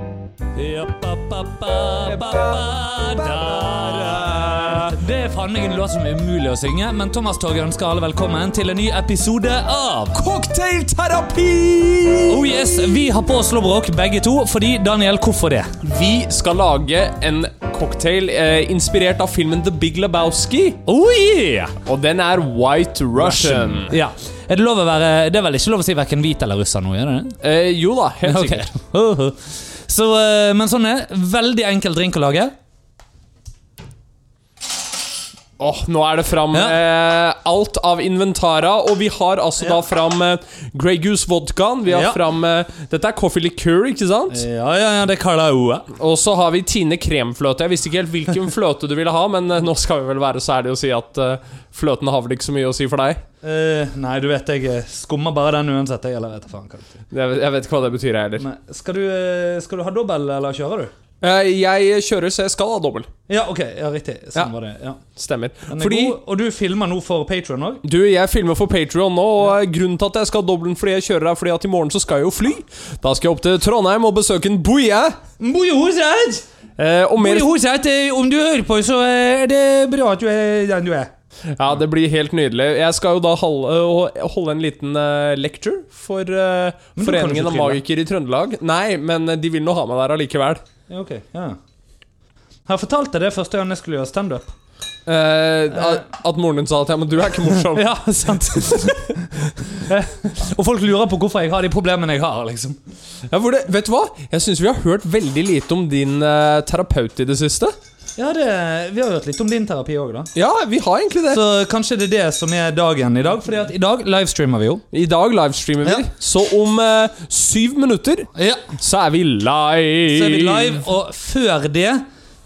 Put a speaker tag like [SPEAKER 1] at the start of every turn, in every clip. [SPEAKER 1] eh. Det er faen meg en låt som er umulig å synge, men Thomas Torg ønsker alle velkommen til en ny episode av
[SPEAKER 2] Cocktailterapi!
[SPEAKER 1] Oh yes, vi har på slåbrok begge to, fordi Daniel, hvorfor det?
[SPEAKER 2] Vi skal lage en cocktail eh, inspirert av filmen The Big Lebowski.
[SPEAKER 1] Oh yeah!
[SPEAKER 2] Og den er White Russian.
[SPEAKER 1] Ja. Er det, lov å være, det er vel ikke lov å si hverken hvit eller russer nå, gjør det det?
[SPEAKER 2] Eh, jo da, helt
[SPEAKER 1] Ok.
[SPEAKER 2] sikkert.
[SPEAKER 1] Så, eh, men sånn er Veldig enkel drink å lage.
[SPEAKER 2] Åh, nå er det fram
[SPEAKER 1] Ja.
[SPEAKER 2] eh, alt av inventara, og vi har altså da fram eh, Grey Goose vodkaen. Vi har
[SPEAKER 1] Ja. Eh.
[SPEAKER 2] fram eh, Dette er coffee liqueur, ikke sant?
[SPEAKER 1] Ja, ja, ja, det kaller jeg OE.
[SPEAKER 2] Og så har vi Tine kremfløte. Jeg visste ikke helt hvilken fløte du ville ha, men eh, nå skal vi vel være så ærlige og si at eh, fløten har vel ikke så mye å si for deg.
[SPEAKER 3] Eh, nei, du vet jeg skummer bare den uansett. Jeg, eller vet faen hva
[SPEAKER 2] Jeg, vet- jeg vet ikke hva det betyr, jeg heller.
[SPEAKER 3] skal, du, ha dobbel, eller kjører du?
[SPEAKER 2] Eh, jeg kjører, så jeg skal ha dobbel.
[SPEAKER 3] Ja, ok, ja, riktig.
[SPEAKER 2] Ja.
[SPEAKER 3] Sånn var det. ja
[SPEAKER 2] Stemmer.
[SPEAKER 3] Den er
[SPEAKER 2] Fordi
[SPEAKER 3] god, Og du filmer nå for Patron òg?
[SPEAKER 2] du, jeg filmer for Patrion nå, og eh, grunnen til at jeg skal ha dobbelen fordi jeg kjører her, fordi at i morgen så skal jeg jo fly. Da skal jeg opp til Trondheim og besøke en boie. Eh, og mer
[SPEAKER 3] eh, Om du hører på, så eh, er det bra at du er den du er.
[SPEAKER 2] Ja, det blir helt nydelig. Jeg skal jo da holde, holde en liten eh, lecture for eh,
[SPEAKER 3] Men du kan jo
[SPEAKER 2] Foreningen
[SPEAKER 3] ikke
[SPEAKER 2] av
[SPEAKER 3] trille.
[SPEAKER 2] magikere i Trøndelag. Nei, men eh, de vil nå ha meg der allikevel.
[SPEAKER 3] Ja, ok, ja Jeg fortalte det første gang jeg skulle gjøre standup.
[SPEAKER 2] Eh, at, at moren din sa at ja, men du er ikke morsom.
[SPEAKER 3] Ja, sant. og folk lurer på hvorfor jeg har de problemene jeg har. liksom
[SPEAKER 2] Ja, for det, vet du hva? Jeg syns vi har hørt veldig lite om din eh, terapeut i det siste.
[SPEAKER 3] Ja, det, Vi har hørt litt om din terapi òg, da.
[SPEAKER 2] Ja, vi har egentlig det.
[SPEAKER 3] Så kanskje det er det som er dagen i dag. Fordi at i dag livestreamer vi jo.
[SPEAKER 2] I dag livestreamer vi,
[SPEAKER 3] Ja.
[SPEAKER 2] så om eh, syv minutter
[SPEAKER 3] Ja
[SPEAKER 2] så er vi live.
[SPEAKER 3] Så er vi live, og før det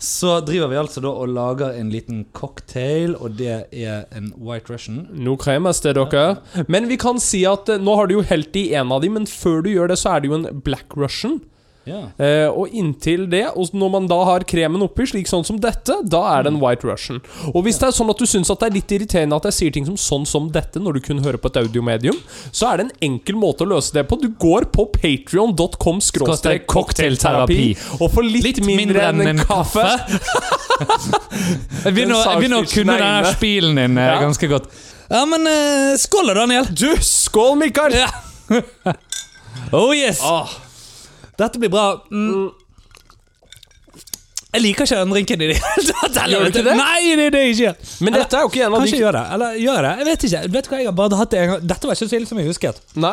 [SPEAKER 3] så driver vi altså da og lager en liten cocktail, og det er en White Russian.
[SPEAKER 2] Nå kremes det, dere. Men vi kan si at eh, nå har du jo helt i en av de, men før du gjør det, så er det jo en black russian.
[SPEAKER 3] Ja.
[SPEAKER 2] Eh, og inntil det, og når man da har kremen oppi, slik sånn som dette, da er det en white russian. Og hvis det er sånn at du syns at det er litt irriterende at jeg sier ting som sånn som dette, når du kun hører på et audiomedium, så er det en enkel måte å løse det på. Du går på patrion.com
[SPEAKER 1] Skråstrek
[SPEAKER 2] cocktailterapi og får litt,
[SPEAKER 1] Litt
[SPEAKER 2] mindre enn en kaffe.
[SPEAKER 1] Jeg begynner, å- jeg begynner å kunne den der spilen din eh,
[SPEAKER 2] Ja.
[SPEAKER 1] ganske godt. Ja, men eh, skål da, Daniel.
[SPEAKER 2] Du, skål, Mikael!
[SPEAKER 1] Ja. Oh yes.
[SPEAKER 2] Ah,
[SPEAKER 1] Dette blir bra. Mm. Jeg liker ikke den drinken i det hele tatt. eller
[SPEAKER 2] Gjør du
[SPEAKER 1] vet
[SPEAKER 2] ikke det?
[SPEAKER 1] Nei, det er det jeg ikke.
[SPEAKER 2] men dette er jo ikke en av
[SPEAKER 1] Kanskje jeg
[SPEAKER 2] de
[SPEAKER 1] gjør det. Eller gjør jeg det? Jeg vet ikke. Vet du hva, jeg har bare hatt det en gang. Dette var ikke så ille som jeg husket.
[SPEAKER 2] Nei.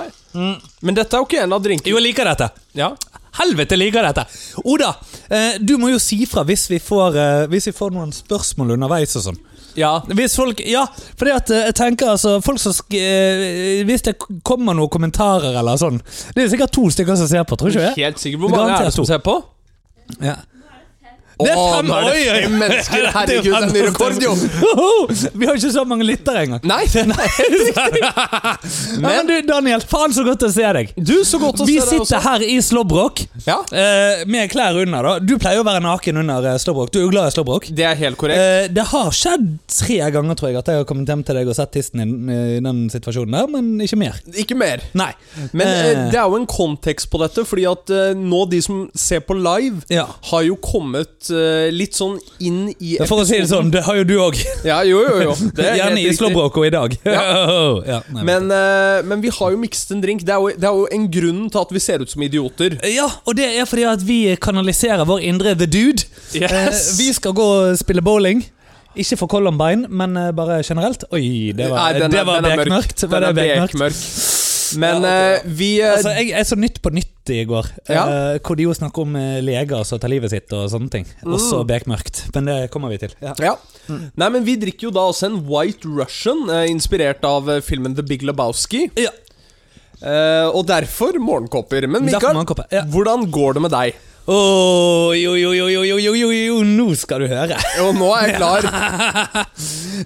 [SPEAKER 2] Men dette er jo ikke en av drinkene
[SPEAKER 1] Mm. Jo, jeg liker dette.
[SPEAKER 2] Ja.
[SPEAKER 1] Helvete, jeg liker dette. Oda, eh, du må jo si fra hvis vi får, eh, hvis vi får noen spørsmål underveis og sånn.
[SPEAKER 2] ja.
[SPEAKER 1] Hvis folk, ja, fordi at eh, jeg tenker altså folk som sk eh, Hvis det k- kommer noen kommentarer eller sånn Det er sikkert to stykker som ser på, tror ikke du?
[SPEAKER 2] Helt sikkert. Hvor mange er det som ser på?
[SPEAKER 1] det? Ja. Det er fem,
[SPEAKER 2] nå er det
[SPEAKER 1] oi, oi.
[SPEAKER 2] fem mennesker!
[SPEAKER 1] Det er
[SPEAKER 2] Herregud, det er en ny rekord, jo!
[SPEAKER 1] Vi har ikke så mange lyttere engang.
[SPEAKER 2] Nei, nei.
[SPEAKER 1] Men, ja, men du, Daniel, faen så godt å se deg.
[SPEAKER 2] Du, så godt å
[SPEAKER 1] Vi
[SPEAKER 2] se deg også.
[SPEAKER 1] sitter her i slåbrok
[SPEAKER 2] Ja,
[SPEAKER 1] eh, med klær under. da Du pleier jo å være naken under eh, slåbrok. Du er jo glad i slåbrok.
[SPEAKER 2] det er helt korrekt.
[SPEAKER 1] Eh, det har skjedd tre ganger tror jeg at jeg har kommet hjem til deg og sett tissen din eh, i den situasjonen der, men ikke mer.
[SPEAKER 2] Eh, Ikke mer.
[SPEAKER 1] Nei.
[SPEAKER 2] Men eh,
[SPEAKER 1] Eh.
[SPEAKER 2] det er jo en kontekst på dette, fordi at eh, nå de som ser på live,
[SPEAKER 1] Ja.
[SPEAKER 2] har jo kommet eh, litt sånn inn i
[SPEAKER 1] For å si det sånn, det har jo du òg.
[SPEAKER 2] Ja, jo, jo, jo. Det er helt
[SPEAKER 1] Gjerne i
[SPEAKER 2] riktig.
[SPEAKER 1] slåbrok og i dag. Ja, nei, men-
[SPEAKER 2] Men, eh, men vi har jo mikset en drink. Det er, jo, det er jo en grunn til at vi ser ut som idioter.
[SPEAKER 1] ja, og det er fordi at vi kanaliserer vår indre The Dude. Eh, vi skal gå og spille bowling. Ikke for Columbine, men eh, bare generelt. Oi, det var,
[SPEAKER 2] Nei, Eh, den er-
[SPEAKER 1] det var
[SPEAKER 2] den er mørk.
[SPEAKER 1] bekmørkt. Var
[SPEAKER 2] Den er
[SPEAKER 1] det bekmørkt?
[SPEAKER 2] bekmørk.
[SPEAKER 1] Ja,
[SPEAKER 2] Men
[SPEAKER 1] ok,
[SPEAKER 2] eh, vi eh,
[SPEAKER 1] Altså, jeg, jeg så Nytt på Nytt i går,
[SPEAKER 2] Ja.
[SPEAKER 1] eh, hvor de jo snakker om eh, leger som tar livet sitt og sånne ting. Også bekmørkt. Men det kommer vi til. Ja.
[SPEAKER 2] Ja. Nei, men vi drikker jo da også en White Russian, eh, inspirert av eh, filmen The Big Lebowski.
[SPEAKER 1] Ja.
[SPEAKER 2] Eh, og derfor morgenkopper. Men
[SPEAKER 1] Derfor
[SPEAKER 2] Mikael,
[SPEAKER 1] morgenkopper, ja.
[SPEAKER 2] hvordan går det med deg?
[SPEAKER 1] Åh, jo, jo, jo, jo, jo, jo, jo, jo, nå skal du høre.
[SPEAKER 2] Og nå er jeg klar.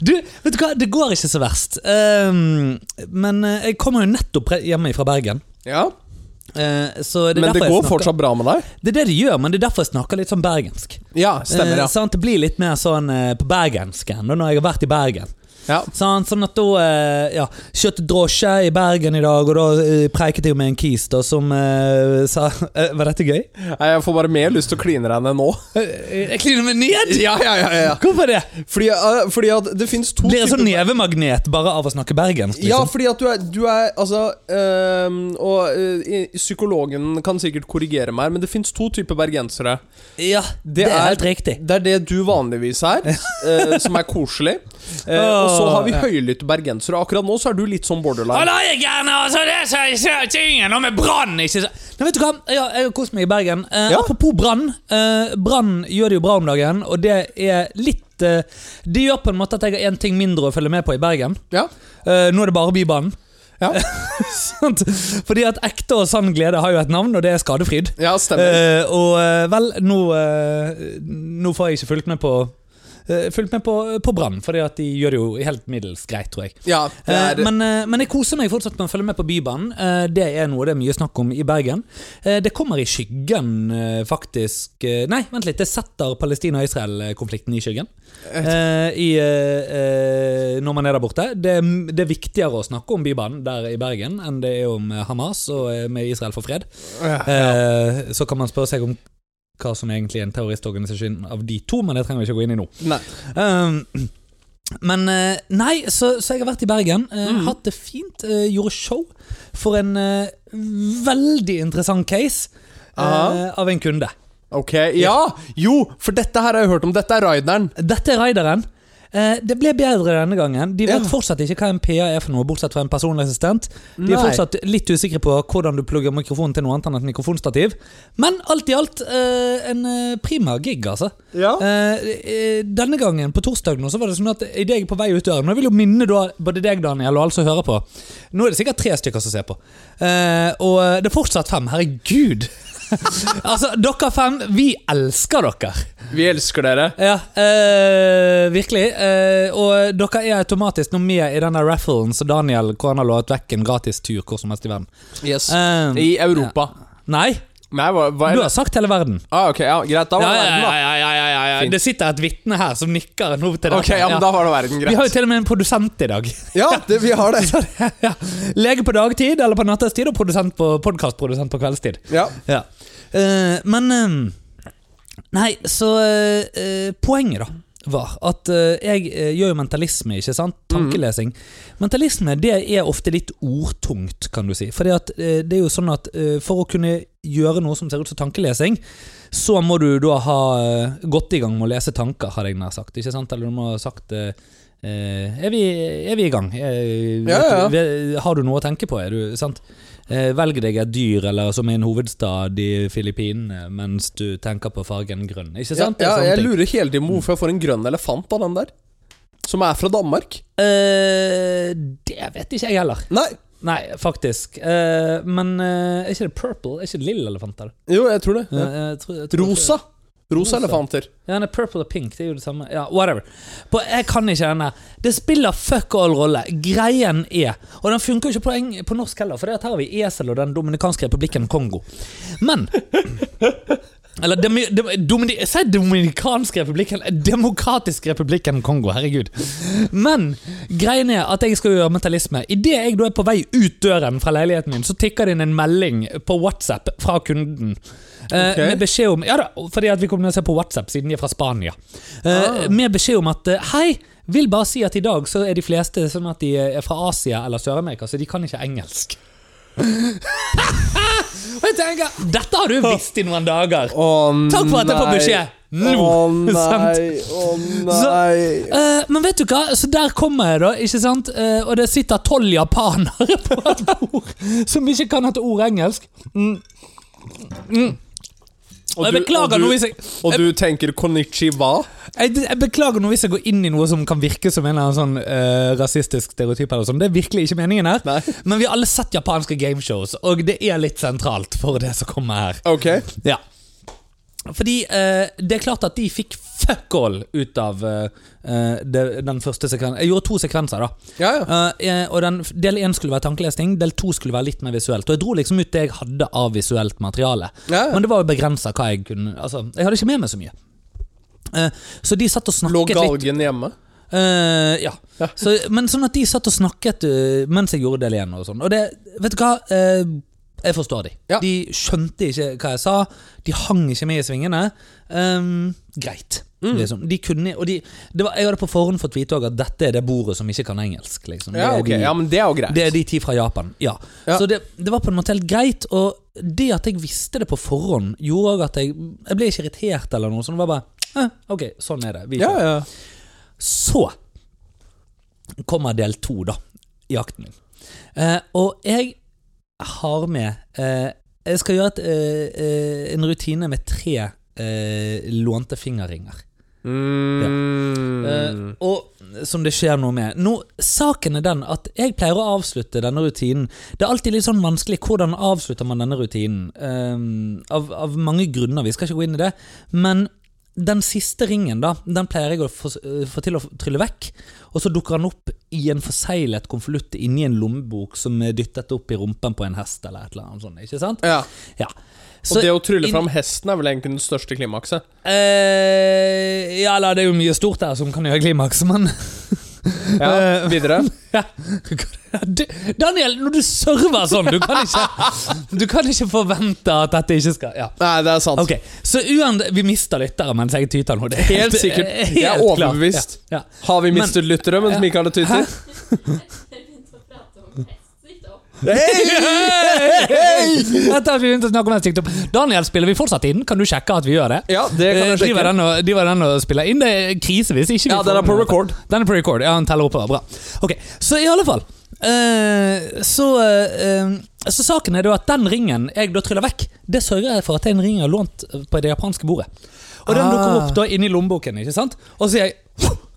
[SPEAKER 1] Du, vet du hva, det går ikke så verst. Ehm, men eh, jeg kommer jo nettopp re- hjemme fra Bergen.
[SPEAKER 2] Ja,
[SPEAKER 1] Eh, så det er derfor jeg
[SPEAKER 2] Men det går
[SPEAKER 1] snakker-
[SPEAKER 2] fortsatt bra med deg?
[SPEAKER 1] Det er det det gjør, men det er derfor jeg snakker litt sånn bergensk.
[SPEAKER 2] Ja, stemmer,
[SPEAKER 1] Eh,
[SPEAKER 2] ja.
[SPEAKER 1] sant? Det blir litt mer sånn eh, på bergensk enn da når jeg har vært i Bergen.
[SPEAKER 2] Ja.
[SPEAKER 1] Sant? sånn at da eh, ja, Kjørte drosje i Bergen i dag, og da eh, preiket jeg jo med en kis da som eh, sa eh, Var dette gøy?
[SPEAKER 2] Nei, Jeg får bare mer lyst til å kline deg ned nå.
[SPEAKER 1] Eh, Jeg kliner meg ned!
[SPEAKER 2] Ja, ja, ja, ja.
[SPEAKER 1] Hvorfor det?
[SPEAKER 2] Fordi, eh, fordi at det fins to
[SPEAKER 1] Blir jeg sånn nevemagnet bare av å snakke bergensk?
[SPEAKER 2] Ja,
[SPEAKER 1] Liksom?
[SPEAKER 2] fordi at du er, du er Altså øhm, Og øh, psykologen kan sikkert korrigere meg, men det fins to typer bergensere.
[SPEAKER 1] Ja, det, er helt riktig.
[SPEAKER 2] Det er det du vanligvis er, øh, som er koselig. Eh, og så har vi høylytte bergensere. Akkurat nå så er du litt sånn borderline.
[SPEAKER 1] la jeg gjerne altså, det så jeg ser tingen om med brann ikke så. Nei, vet du hva? Ja, jeg har kost meg i Bergen. Eh,
[SPEAKER 2] Ja.
[SPEAKER 1] Apropos brann. Eh, brann gjør det jo bra om dagen, og det er litt eh, Det gjør på en måte at jeg har én ting mindre å følge med på i Bergen.
[SPEAKER 2] Ja.
[SPEAKER 1] Eh, nå er det bare Bybanen.
[SPEAKER 2] Ja.
[SPEAKER 1] Sant? Fordi at ekte og sann glede har jo et navn, og det er Skadefryd.
[SPEAKER 2] ja, stemmer.
[SPEAKER 1] Eh, og eh, vel, nå, eh, nå får jeg ikke fulgt med på eh, Fulgt med på, på Brann, Fordi at de gjør det jo helt middels greit, tror jeg.
[SPEAKER 2] Ja, det
[SPEAKER 1] Eh,
[SPEAKER 2] er,
[SPEAKER 1] men, eh, men jeg koser meg fortsatt med å følge med på Bybanen. Eh, det er noe det er mye snakk om i Bergen. Eh, det kommer i skyggen, eh, faktisk eh, Nei, vent litt. Det setter Palestina-Israel-konflikten i skyggen. Eh, i, eh, eh, når man er der borte. Det, er- det er viktigere å snakke om Bybanen der i Bergen enn det er om eh, Hamas og eh, med Israel for fred. Eh, så kan man spørre seg om hva som egentlig er en terroristorganisasjon av de to, men det trenger vi ikke gå inn i nå.
[SPEAKER 2] Nei.
[SPEAKER 1] Um, men eh, Nei, så, så jeg har vært i Bergen. eh,
[SPEAKER 2] Mm.
[SPEAKER 1] Hatt det fint. eh, gjorde show for en eh, veldig interessant case eh,
[SPEAKER 2] Aha.
[SPEAKER 1] av en kunde.
[SPEAKER 2] Ok. Ja! Jo, for dette her har jeg hørt om. Dette er Raideren.
[SPEAKER 1] Dette er raideren. Eh, det ble bedre denne gangen. De vet
[SPEAKER 2] Ja.
[SPEAKER 1] fortsatt ikke hva en PA er for noe, bortsett fra en personlig assistent. De er
[SPEAKER 2] Nei.
[SPEAKER 1] fortsatt litt usikre på hvordan du plugger mikrofonen til noe annet enn et mikrofonstativ. Men alt i alt eh, en eh, prima gig, altså.
[SPEAKER 2] Ja.
[SPEAKER 1] Eh, eh, denne gangen, på torsdag, nå, så var det sånn at idet jeg er på vei ut døren Og jeg vil jo minne da, både deg, Daniel, og alle som hører på. Nå er det sikkert tre stykker som ser på. Eh, og det er fortsatt fem. Herregud! altså, dere fem, vi elsker dere.
[SPEAKER 2] Vi elsker dere.
[SPEAKER 1] Ja, eh, virkelig. Eh, og dere er automatisk nå med i denne rafflen som Daniel hvor han har lovet vekk en gratis tur hvor som helst i verden.
[SPEAKER 2] Yes.
[SPEAKER 1] Eh,
[SPEAKER 2] I Europa.
[SPEAKER 1] nei,
[SPEAKER 2] Nei, hva,
[SPEAKER 1] du
[SPEAKER 2] hva er det?
[SPEAKER 1] har sagt hele verden.
[SPEAKER 2] Ah, ok, ja, Greit, da var det verden, da. Fint.
[SPEAKER 1] Det sitter et vitne her som nikker nå til dette.
[SPEAKER 2] Ok, ja, men da var det verden,
[SPEAKER 1] Vi har jo
[SPEAKER 2] greit.
[SPEAKER 1] til og med en produsent i dag.
[SPEAKER 2] Ja, det, vi har det.
[SPEAKER 1] ja. Lege på dagtid eller på nattestid, og produsent på podkastprodusent på kveldstid.
[SPEAKER 2] Ja.
[SPEAKER 1] Ja. Eh, men eh, Nei, så eh, eh, Poenget, da, var at eh, jeg eh, gjør jo mentalisme, ikke sant? Tankelesing. Mentalisme det er ofte litt ordtungt, kan du si. Fordi at eh, det er jo sånn at eh, for å kunne gjøre noe som ser ut som tankelesing, så må du da ha eh, gått i gang med å lese tanker, har jeg nær sagt. Ikke sant? Eller du må ha sagt eh, eh, er, vi, er vi i gang? Eh,
[SPEAKER 2] Ja, ja, ja.
[SPEAKER 1] vet du- ve- Har du noe å tenke på? Er du, sant? Eh, velg deg et dyr eller som i en hovedstad i Filippinene mens du tenker på fargen grønn. Ikke sant? Det er
[SPEAKER 2] Ja,
[SPEAKER 1] sånne
[SPEAKER 2] ja, jeg
[SPEAKER 1] ting.
[SPEAKER 2] lurer hele tiden på hvorfor jeg får en grønn elefant av den der. Som er fra Danmark.
[SPEAKER 1] Eh, det vet ikke jeg heller.
[SPEAKER 2] Nei.
[SPEAKER 1] Nei, faktisk. Eh, men eh, er ikke det purple? Er ikke det lille elefanter?
[SPEAKER 2] Jo, jeg tror det.
[SPEAKER 1] Eh, jeg tror- jeg tror-
[SPEAKER 2] Rosa.
[SPEAKER 1] Rosa.
[SPEAKER 2] Rosa elefanter.
[SPEAKER 1] Ja, nei, Purple og pink, det er jo det samme. Ja, whatever. På, jeg kan ikke denne. Det spiller fuck all rolle. Greien er Og den funker jo ikke på, eng, på norsk heller, for det at her har vi esel og Den dominikanske republikken Kongo. Men Eller dem, dem, domini, jeg sier Dominikansk republikken Demokratisk republikken Kongo, herregud. Men greien er at jeg skal jo gjøre mentalisme. Idet jeg da er på vei ut døren fra leiligheten min, så tikker det inn en melding på WhatsApp fra kunden. Eh,
[SPEAKER 2] Ok.
[SPEAKER 1] Med beskjed om Ja da, fordi at vi kommuniserer på WhatsApp siden de er fra Spania.
[SPEAKER 2] Ah.
[SPEAKER 1] Eh, Med beskjed om at eh, hei, vil bare si at i dag så er de fleste sånn at de er fra Asia eller Sør-Amerika, så de kan ikke engelsk. Og jeg tenker, Dette har du visst i noen dager!
[SPEAKER 2] Å nei.
[SPEAKER 1] Takk for at jeg får beskjed! Nå!
[SPEAKER 2] Å
[SPEAKER 1] Sant?
[SPEAKER 2] nei, å nei.
[SPEAKER 1] Eh, men vet du hva, så der kommer jeg, da. ikke sant? Eh, og det sitter tolv japanere på et bord som ikke kan et ord engelsk. Og jeg
[SPEAKER 2] du-
[SPEAKER 1] beklager
[SPEAKER 2] og du-
[SPEAKER 1] nå hvis jeg,
[SPEAKER 2] Og du tenker konnichiwa?
[SPEAKER 1] jeg, jeg beklager nå hvis jeg går inn i noe som kan virke som en eller annen sånn eh, rasistisk stereotyp. eller sånn. Det er virkelig ikke meningen her.
[SPEAKER 2] Nei.
[SPEAKER 1] Men vi har alle sett japanske gameshows, og det er litt sentralt for det som kommer her.
[SPEAKER 2] Ok.
[SPEAKER 1] Ja. Fordi eh, det er klart at de fikk fuck all ut av eh, eh, det, den første sekvensen. Jeg gjorde to sekvenser, da.
[SPEAKER 2] Ja, ja.
[SPEAKER 1] Eh, og den, Del én skulle være tankelesning, del to skulle være litt mer visuelt. Og jeg dro liksom ut det jeg hadde av visuelt materiale.
[SPEAKER 2] Ja, ja.
[SPEAKER 1] Men det var jo begrensa hva jeg kunne Altså, jeg hadde ikke med meg så mye. Eh, så de satt og
[SPEAKER 2] Lå
[SPEAKER 1] snakket litt.
[SPEAKER 2] galgen hjemme?
[SPEAKER 1] Eh, ja. Så, men sånn at de satt og snakket øh, mens jeg gjorde del igjen. Og, sånn. og det, vet du hva? Eh, jeg forstår de.
[SPEAKER 2] Ja.
[SPEAKER 1] De skjønte ikke hva jeg sa. De hang ikke med i svingene. Ehm, greit.
[SPEAKER 2] Mm.
[SPEAKER 1] Liksom. De kunne, og de, det var, jeg hadde på forhånd fått vite også at dette er det bordet som ikke kan engelsk. Liksom. Det
[SPEAKER 2] Ja,
[SPEAKER 1] er
[SPEAKER 2] ok.
[SPEAKER 1] de-
[SPEAKER 2] ja, men det er jo greit.
[SPEAKER 1] det er de ti fra Japan, ja.
[SPEAKER 2] Ja.
[SPEAKER 1] Så det, det var på en måte helt greit, og det at jeg visste det på forhånd, gjorde også at jeg, jeg ble ikke irritert eller noe, sånn det var bare, eh, ok, sånn er det. Vi
[SPEAKER 2] ja,
[SPEAKER 1] kjører.
[SPEAKER 2] ja.
[SPEAKER 1] Så kommer del to da, i akten min. Eh, og jeg har med, eh, jeg skal gjøre et, eh, eh, en rutine med tre eh, lånte fingerringer.
[SPEAKER 2] Mm.
[SPEAKER 1] Eh, og som det skjer noe med. Nå, saken er den at jeg pleier å avslutte denne rutinen. Det er alltid litt sånn vanskelig hvordan avslutter man denne rutinen. Ehm, av, av mange grunner, vi skal ikke gå inn i det. Men den siste ringen da, den pleier jeg å få, eh, få til å trylle vekk. Og så dukker han opp i en forseglet konvolutt inni en lommebok som er dyttet opp i rumpen på en hest eller et eller annet sånt. Ikke sant?
[SPEAKER 2] ja.
[SPEAKER 1] Ja.
[SPEAKER 2] Og det å trylle
[SPEAKER 1] inn-
[SPEAKER 2] fram hesten er vel egentlig den største klimakset.
[SPEAKER 1] eh, Ja, eller det er jo mye stort der som kan gjøre klimaks, men Eh,
[SPEAKER 2] Ja, videre.
[SPEAKER 1] Ja. Du, Daniel, når du server sånn, du kan ikke, du kan ikke forvente at dette ikke skal ja.
[SPEAKER 2] Nei, det er sant.
[SPEAKER 1] Ok, Så uan, vi mister lyttere mens jeg tyter nå. Det er
[SPEAKER 2] Helt sikkert.
[SPEAKER 1] helt
[SPEAKER 2] Jeg er
[SPEAKER 1] klart.
[SPEAKER 2] overbevist.
[SPEAKER 1] Ja. Ja.
[SPEAKER 2] Har vi
[SPEAKER 1] Men-
[SPEAKER 2] mistet lyttere mens
[SPEAKER 1] Ja.
[SPEAKER 2] Mikael er tyter?
[SPEAKER 1] Dette har vi begynt å snakke om en TikTok. Daniel, spiller vi fortsatt inn? Kan du sjekke at vi gjør det?
[SPEAKER 2] Ja, det kan
[SPEAKER 1] Eh,
[SPEAKER 2] jeg
[SPEAKER 1] driver,
[SPEAKER 2] sjekke.
[SPEAKER 1] den og, driver den og spiller inn? Det er krise hvis ikke vi
[SPEAKER 2] Ja,
[SPEAKER 1] får
[SPEAKER 2] den er på
[SPEAKER 1] med.
[SPEAKER 2] record.
[SPEAKER 1] Den er på record, ja, han teller oppover. Bra. Ok, Så i alle fall eh, så, eh, eh, så saken er da at den ringen jeg da tryller vekk, det sørger jeg for at det er en ring jeg har lånt på det japanske bordet. Og den dukker
[SPEAKER 2] Ah.
[SPEAKER 1] opp da inni lommeboken, ikke sant? Og så sier jeg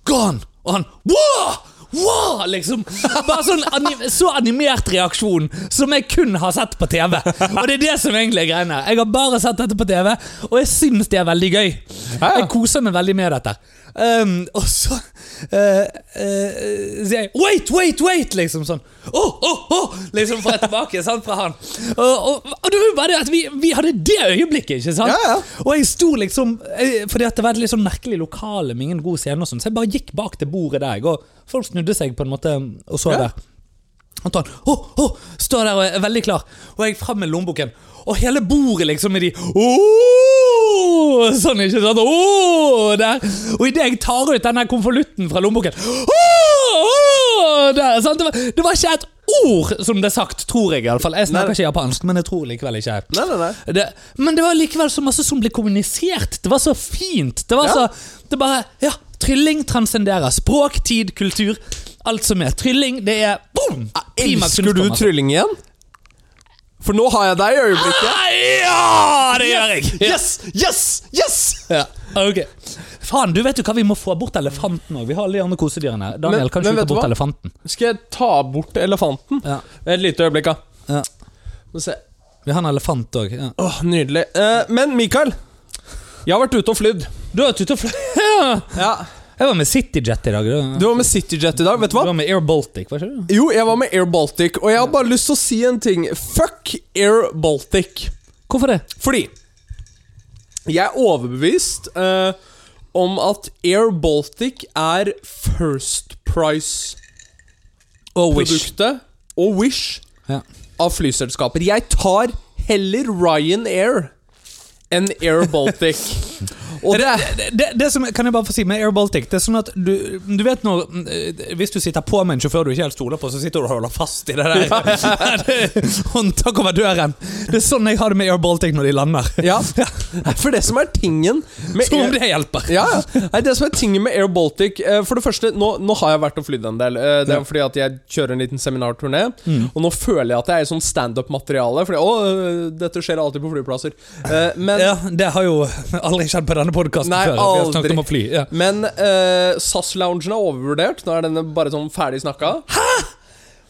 [SPEAKER 1] Gone! Og han wow! Wow! Liksom. Bare sånn anim så animert reaksjon som jeg kun har sett på TV. Og det er det som egentlig er greiene. Jeg har bare sett dette på TV, og jeg syns det er veldig gøy.
[SPEAKER 2] Ja, ja.
[SPEAKER 1] Jeg koser meg veldig med dette. Um, og så eh, eh, sier jeg 'wait, wait, wait', liksom sånn. Åh, åh, åh, liksom fra tilbake, sant, fra han. Og, og, og det var jo bare det at vi, vi hadde det øyeblikket, ikke sant?
[SPEAKER 2] Ja, ja.
[SPEAKER 1] Og jeg sto liksom eh, Fordi at det var et litt sånn merkelig lokale med ingen god scene og sånn, så jeg bare gikk bak til bordet der, jeg, og folk snudde seg på en måte og så
[SPEAKER 2] Ja.
[SPEAKER 1] der. Anton oh, oh, står der og er veldig klar, og jeg fram med lommeboken. Og hele bordet liksom er de oh, Sånn, ikke sant? Oh, der. Og idet jeg tar ut den her konvolutten fra lommeboken oh, oh, der, sant? Det, var, det var ikke et ord som ble sagt, tror jeg iallfall. Jeg
[SPEAKER 2] Nei.
[SPEAKER 1] snakker ikke japansk, men jeg tror likevel ikke.
[SPEAKER 2] Nei, nei, nei.
[SPEAKER 1] Det, men det var likevel så masse som ble kommunisert. Det var så fint. Det var
[SPEAKER 2] Ja.
[SPEAKER 1] så Det bare Ja, trylling transcenderer språk, tid, kultur. Alt som er trylling, det er boom! Klimaks
[SPEAKER 2] Elsker du
[SPEAKER 1] kunstform, altså.
[SPEAKER 2] trylling igjen? For nå har jeg deg i
[SPEAKER 1] Ah,
[SPEAKER 2] øyeblikket.
[SPEAKER 1] Ja, det gjør jeg! Ja.
[SPEAKER 2] Yes! Yes! Yes!
[SPEAKER 1] Ja. Ok. Faen, du vet jo hva, vi må få bort elefanten òg. Vi har alle de andre kosedyrene. Daniel,
[SPEAKER 2] Men-
[SPEAKER 1] kan ikke du
[SPEAKER 2] men vet
[SPEAKER 1] ta
[SPEAKER 2] du
[SPEAKER 1] bort
[SPEAKER 2] hva?
[SPEAKER 1] elefanten?
[SPEAKER 2] Skal jeg ta bort elefanten?
[SPEAKER 1] Ja.
[SPEAKER 2] Et lite øyeblikk, da.
[SPEAKER 1] Ja.
[SPEAKER 2] Må se.
[SPEAKER 1] Vi har en elefant òg. Ja.
[SPEAKER 2] Åh, nydelig. Eh, men Mikael, jeg har vært ute og flydd.
[SPEAKER 1] Du har tutta fly... Ja. Jeg var med CityJet i dag. Du,
[SPEAKER 2] Du var med CityJet i dag, vet du hva?
[SPEAKER 1] du var med Air Baltic, var ikke du?
[SPEAKER 2] Jo, jeg var med Air Baltic, og jeg har bare lyst til å si en ting. Fuck Air Baltic.
[SPEAKER 1] Hvorfor det?
[SPEAKER 2] Fordi jeg er overbevist eh, om at Air Baltic er First Price-produktet Oh,
[SPEAKER 1] Og Wish.
[SPEAKER 2] og Wish
[SPEAKER 1] Ja.
[SPEAKER 2] av flyselskaper. Jeg tar heller Ryanair enn Air Baltic. og det er
[SPEAKER 1] det, det, det som, kan jeg bare få si med Air Baltic Det er sånn at du, du vet når mm, eh, Hvis du sitter på med en sjåfør du ikke helt stoler på, så sitter du og holder fast i det der håndtaket over døren. Det er sånn jeg har det med Air Baltic når de lander.
[SPEAKER 2] ja, for det som er tingen med
[SPEAKER 1] Som
[SPEAKER 2] Air-
[SPEAKER 1] om det hjelper.
[SPEAKER 2] Ja, ja. Nei, det som er tingen med Air Baltic eh, For det første, nå, nå har jeg vært og flydd en del. Eh, Det er fordi at jeg kjører en liten seminarturné,
[SPEAKER 1] Mm.
[SPEAKER 2] og nå føler jeg at jeg er i sånn standup-materiale. Fordi å, eh, dette skjer alltid på flyplasser. Eh, Men,
[SPEAKER 1] Ja, det har jo aldri skjedd på denne podkasten
[SPEAKER 2] Nei,
[SPEAKER 1] før. Vi har snakket
[SPEAKER 2] aldri.
[SPEAKER 1] om å fly. Ja.
[SPEAKER 2] men eh, SAS-loungen er overvurdert. Nå er denne bare sånn ferdig snakka.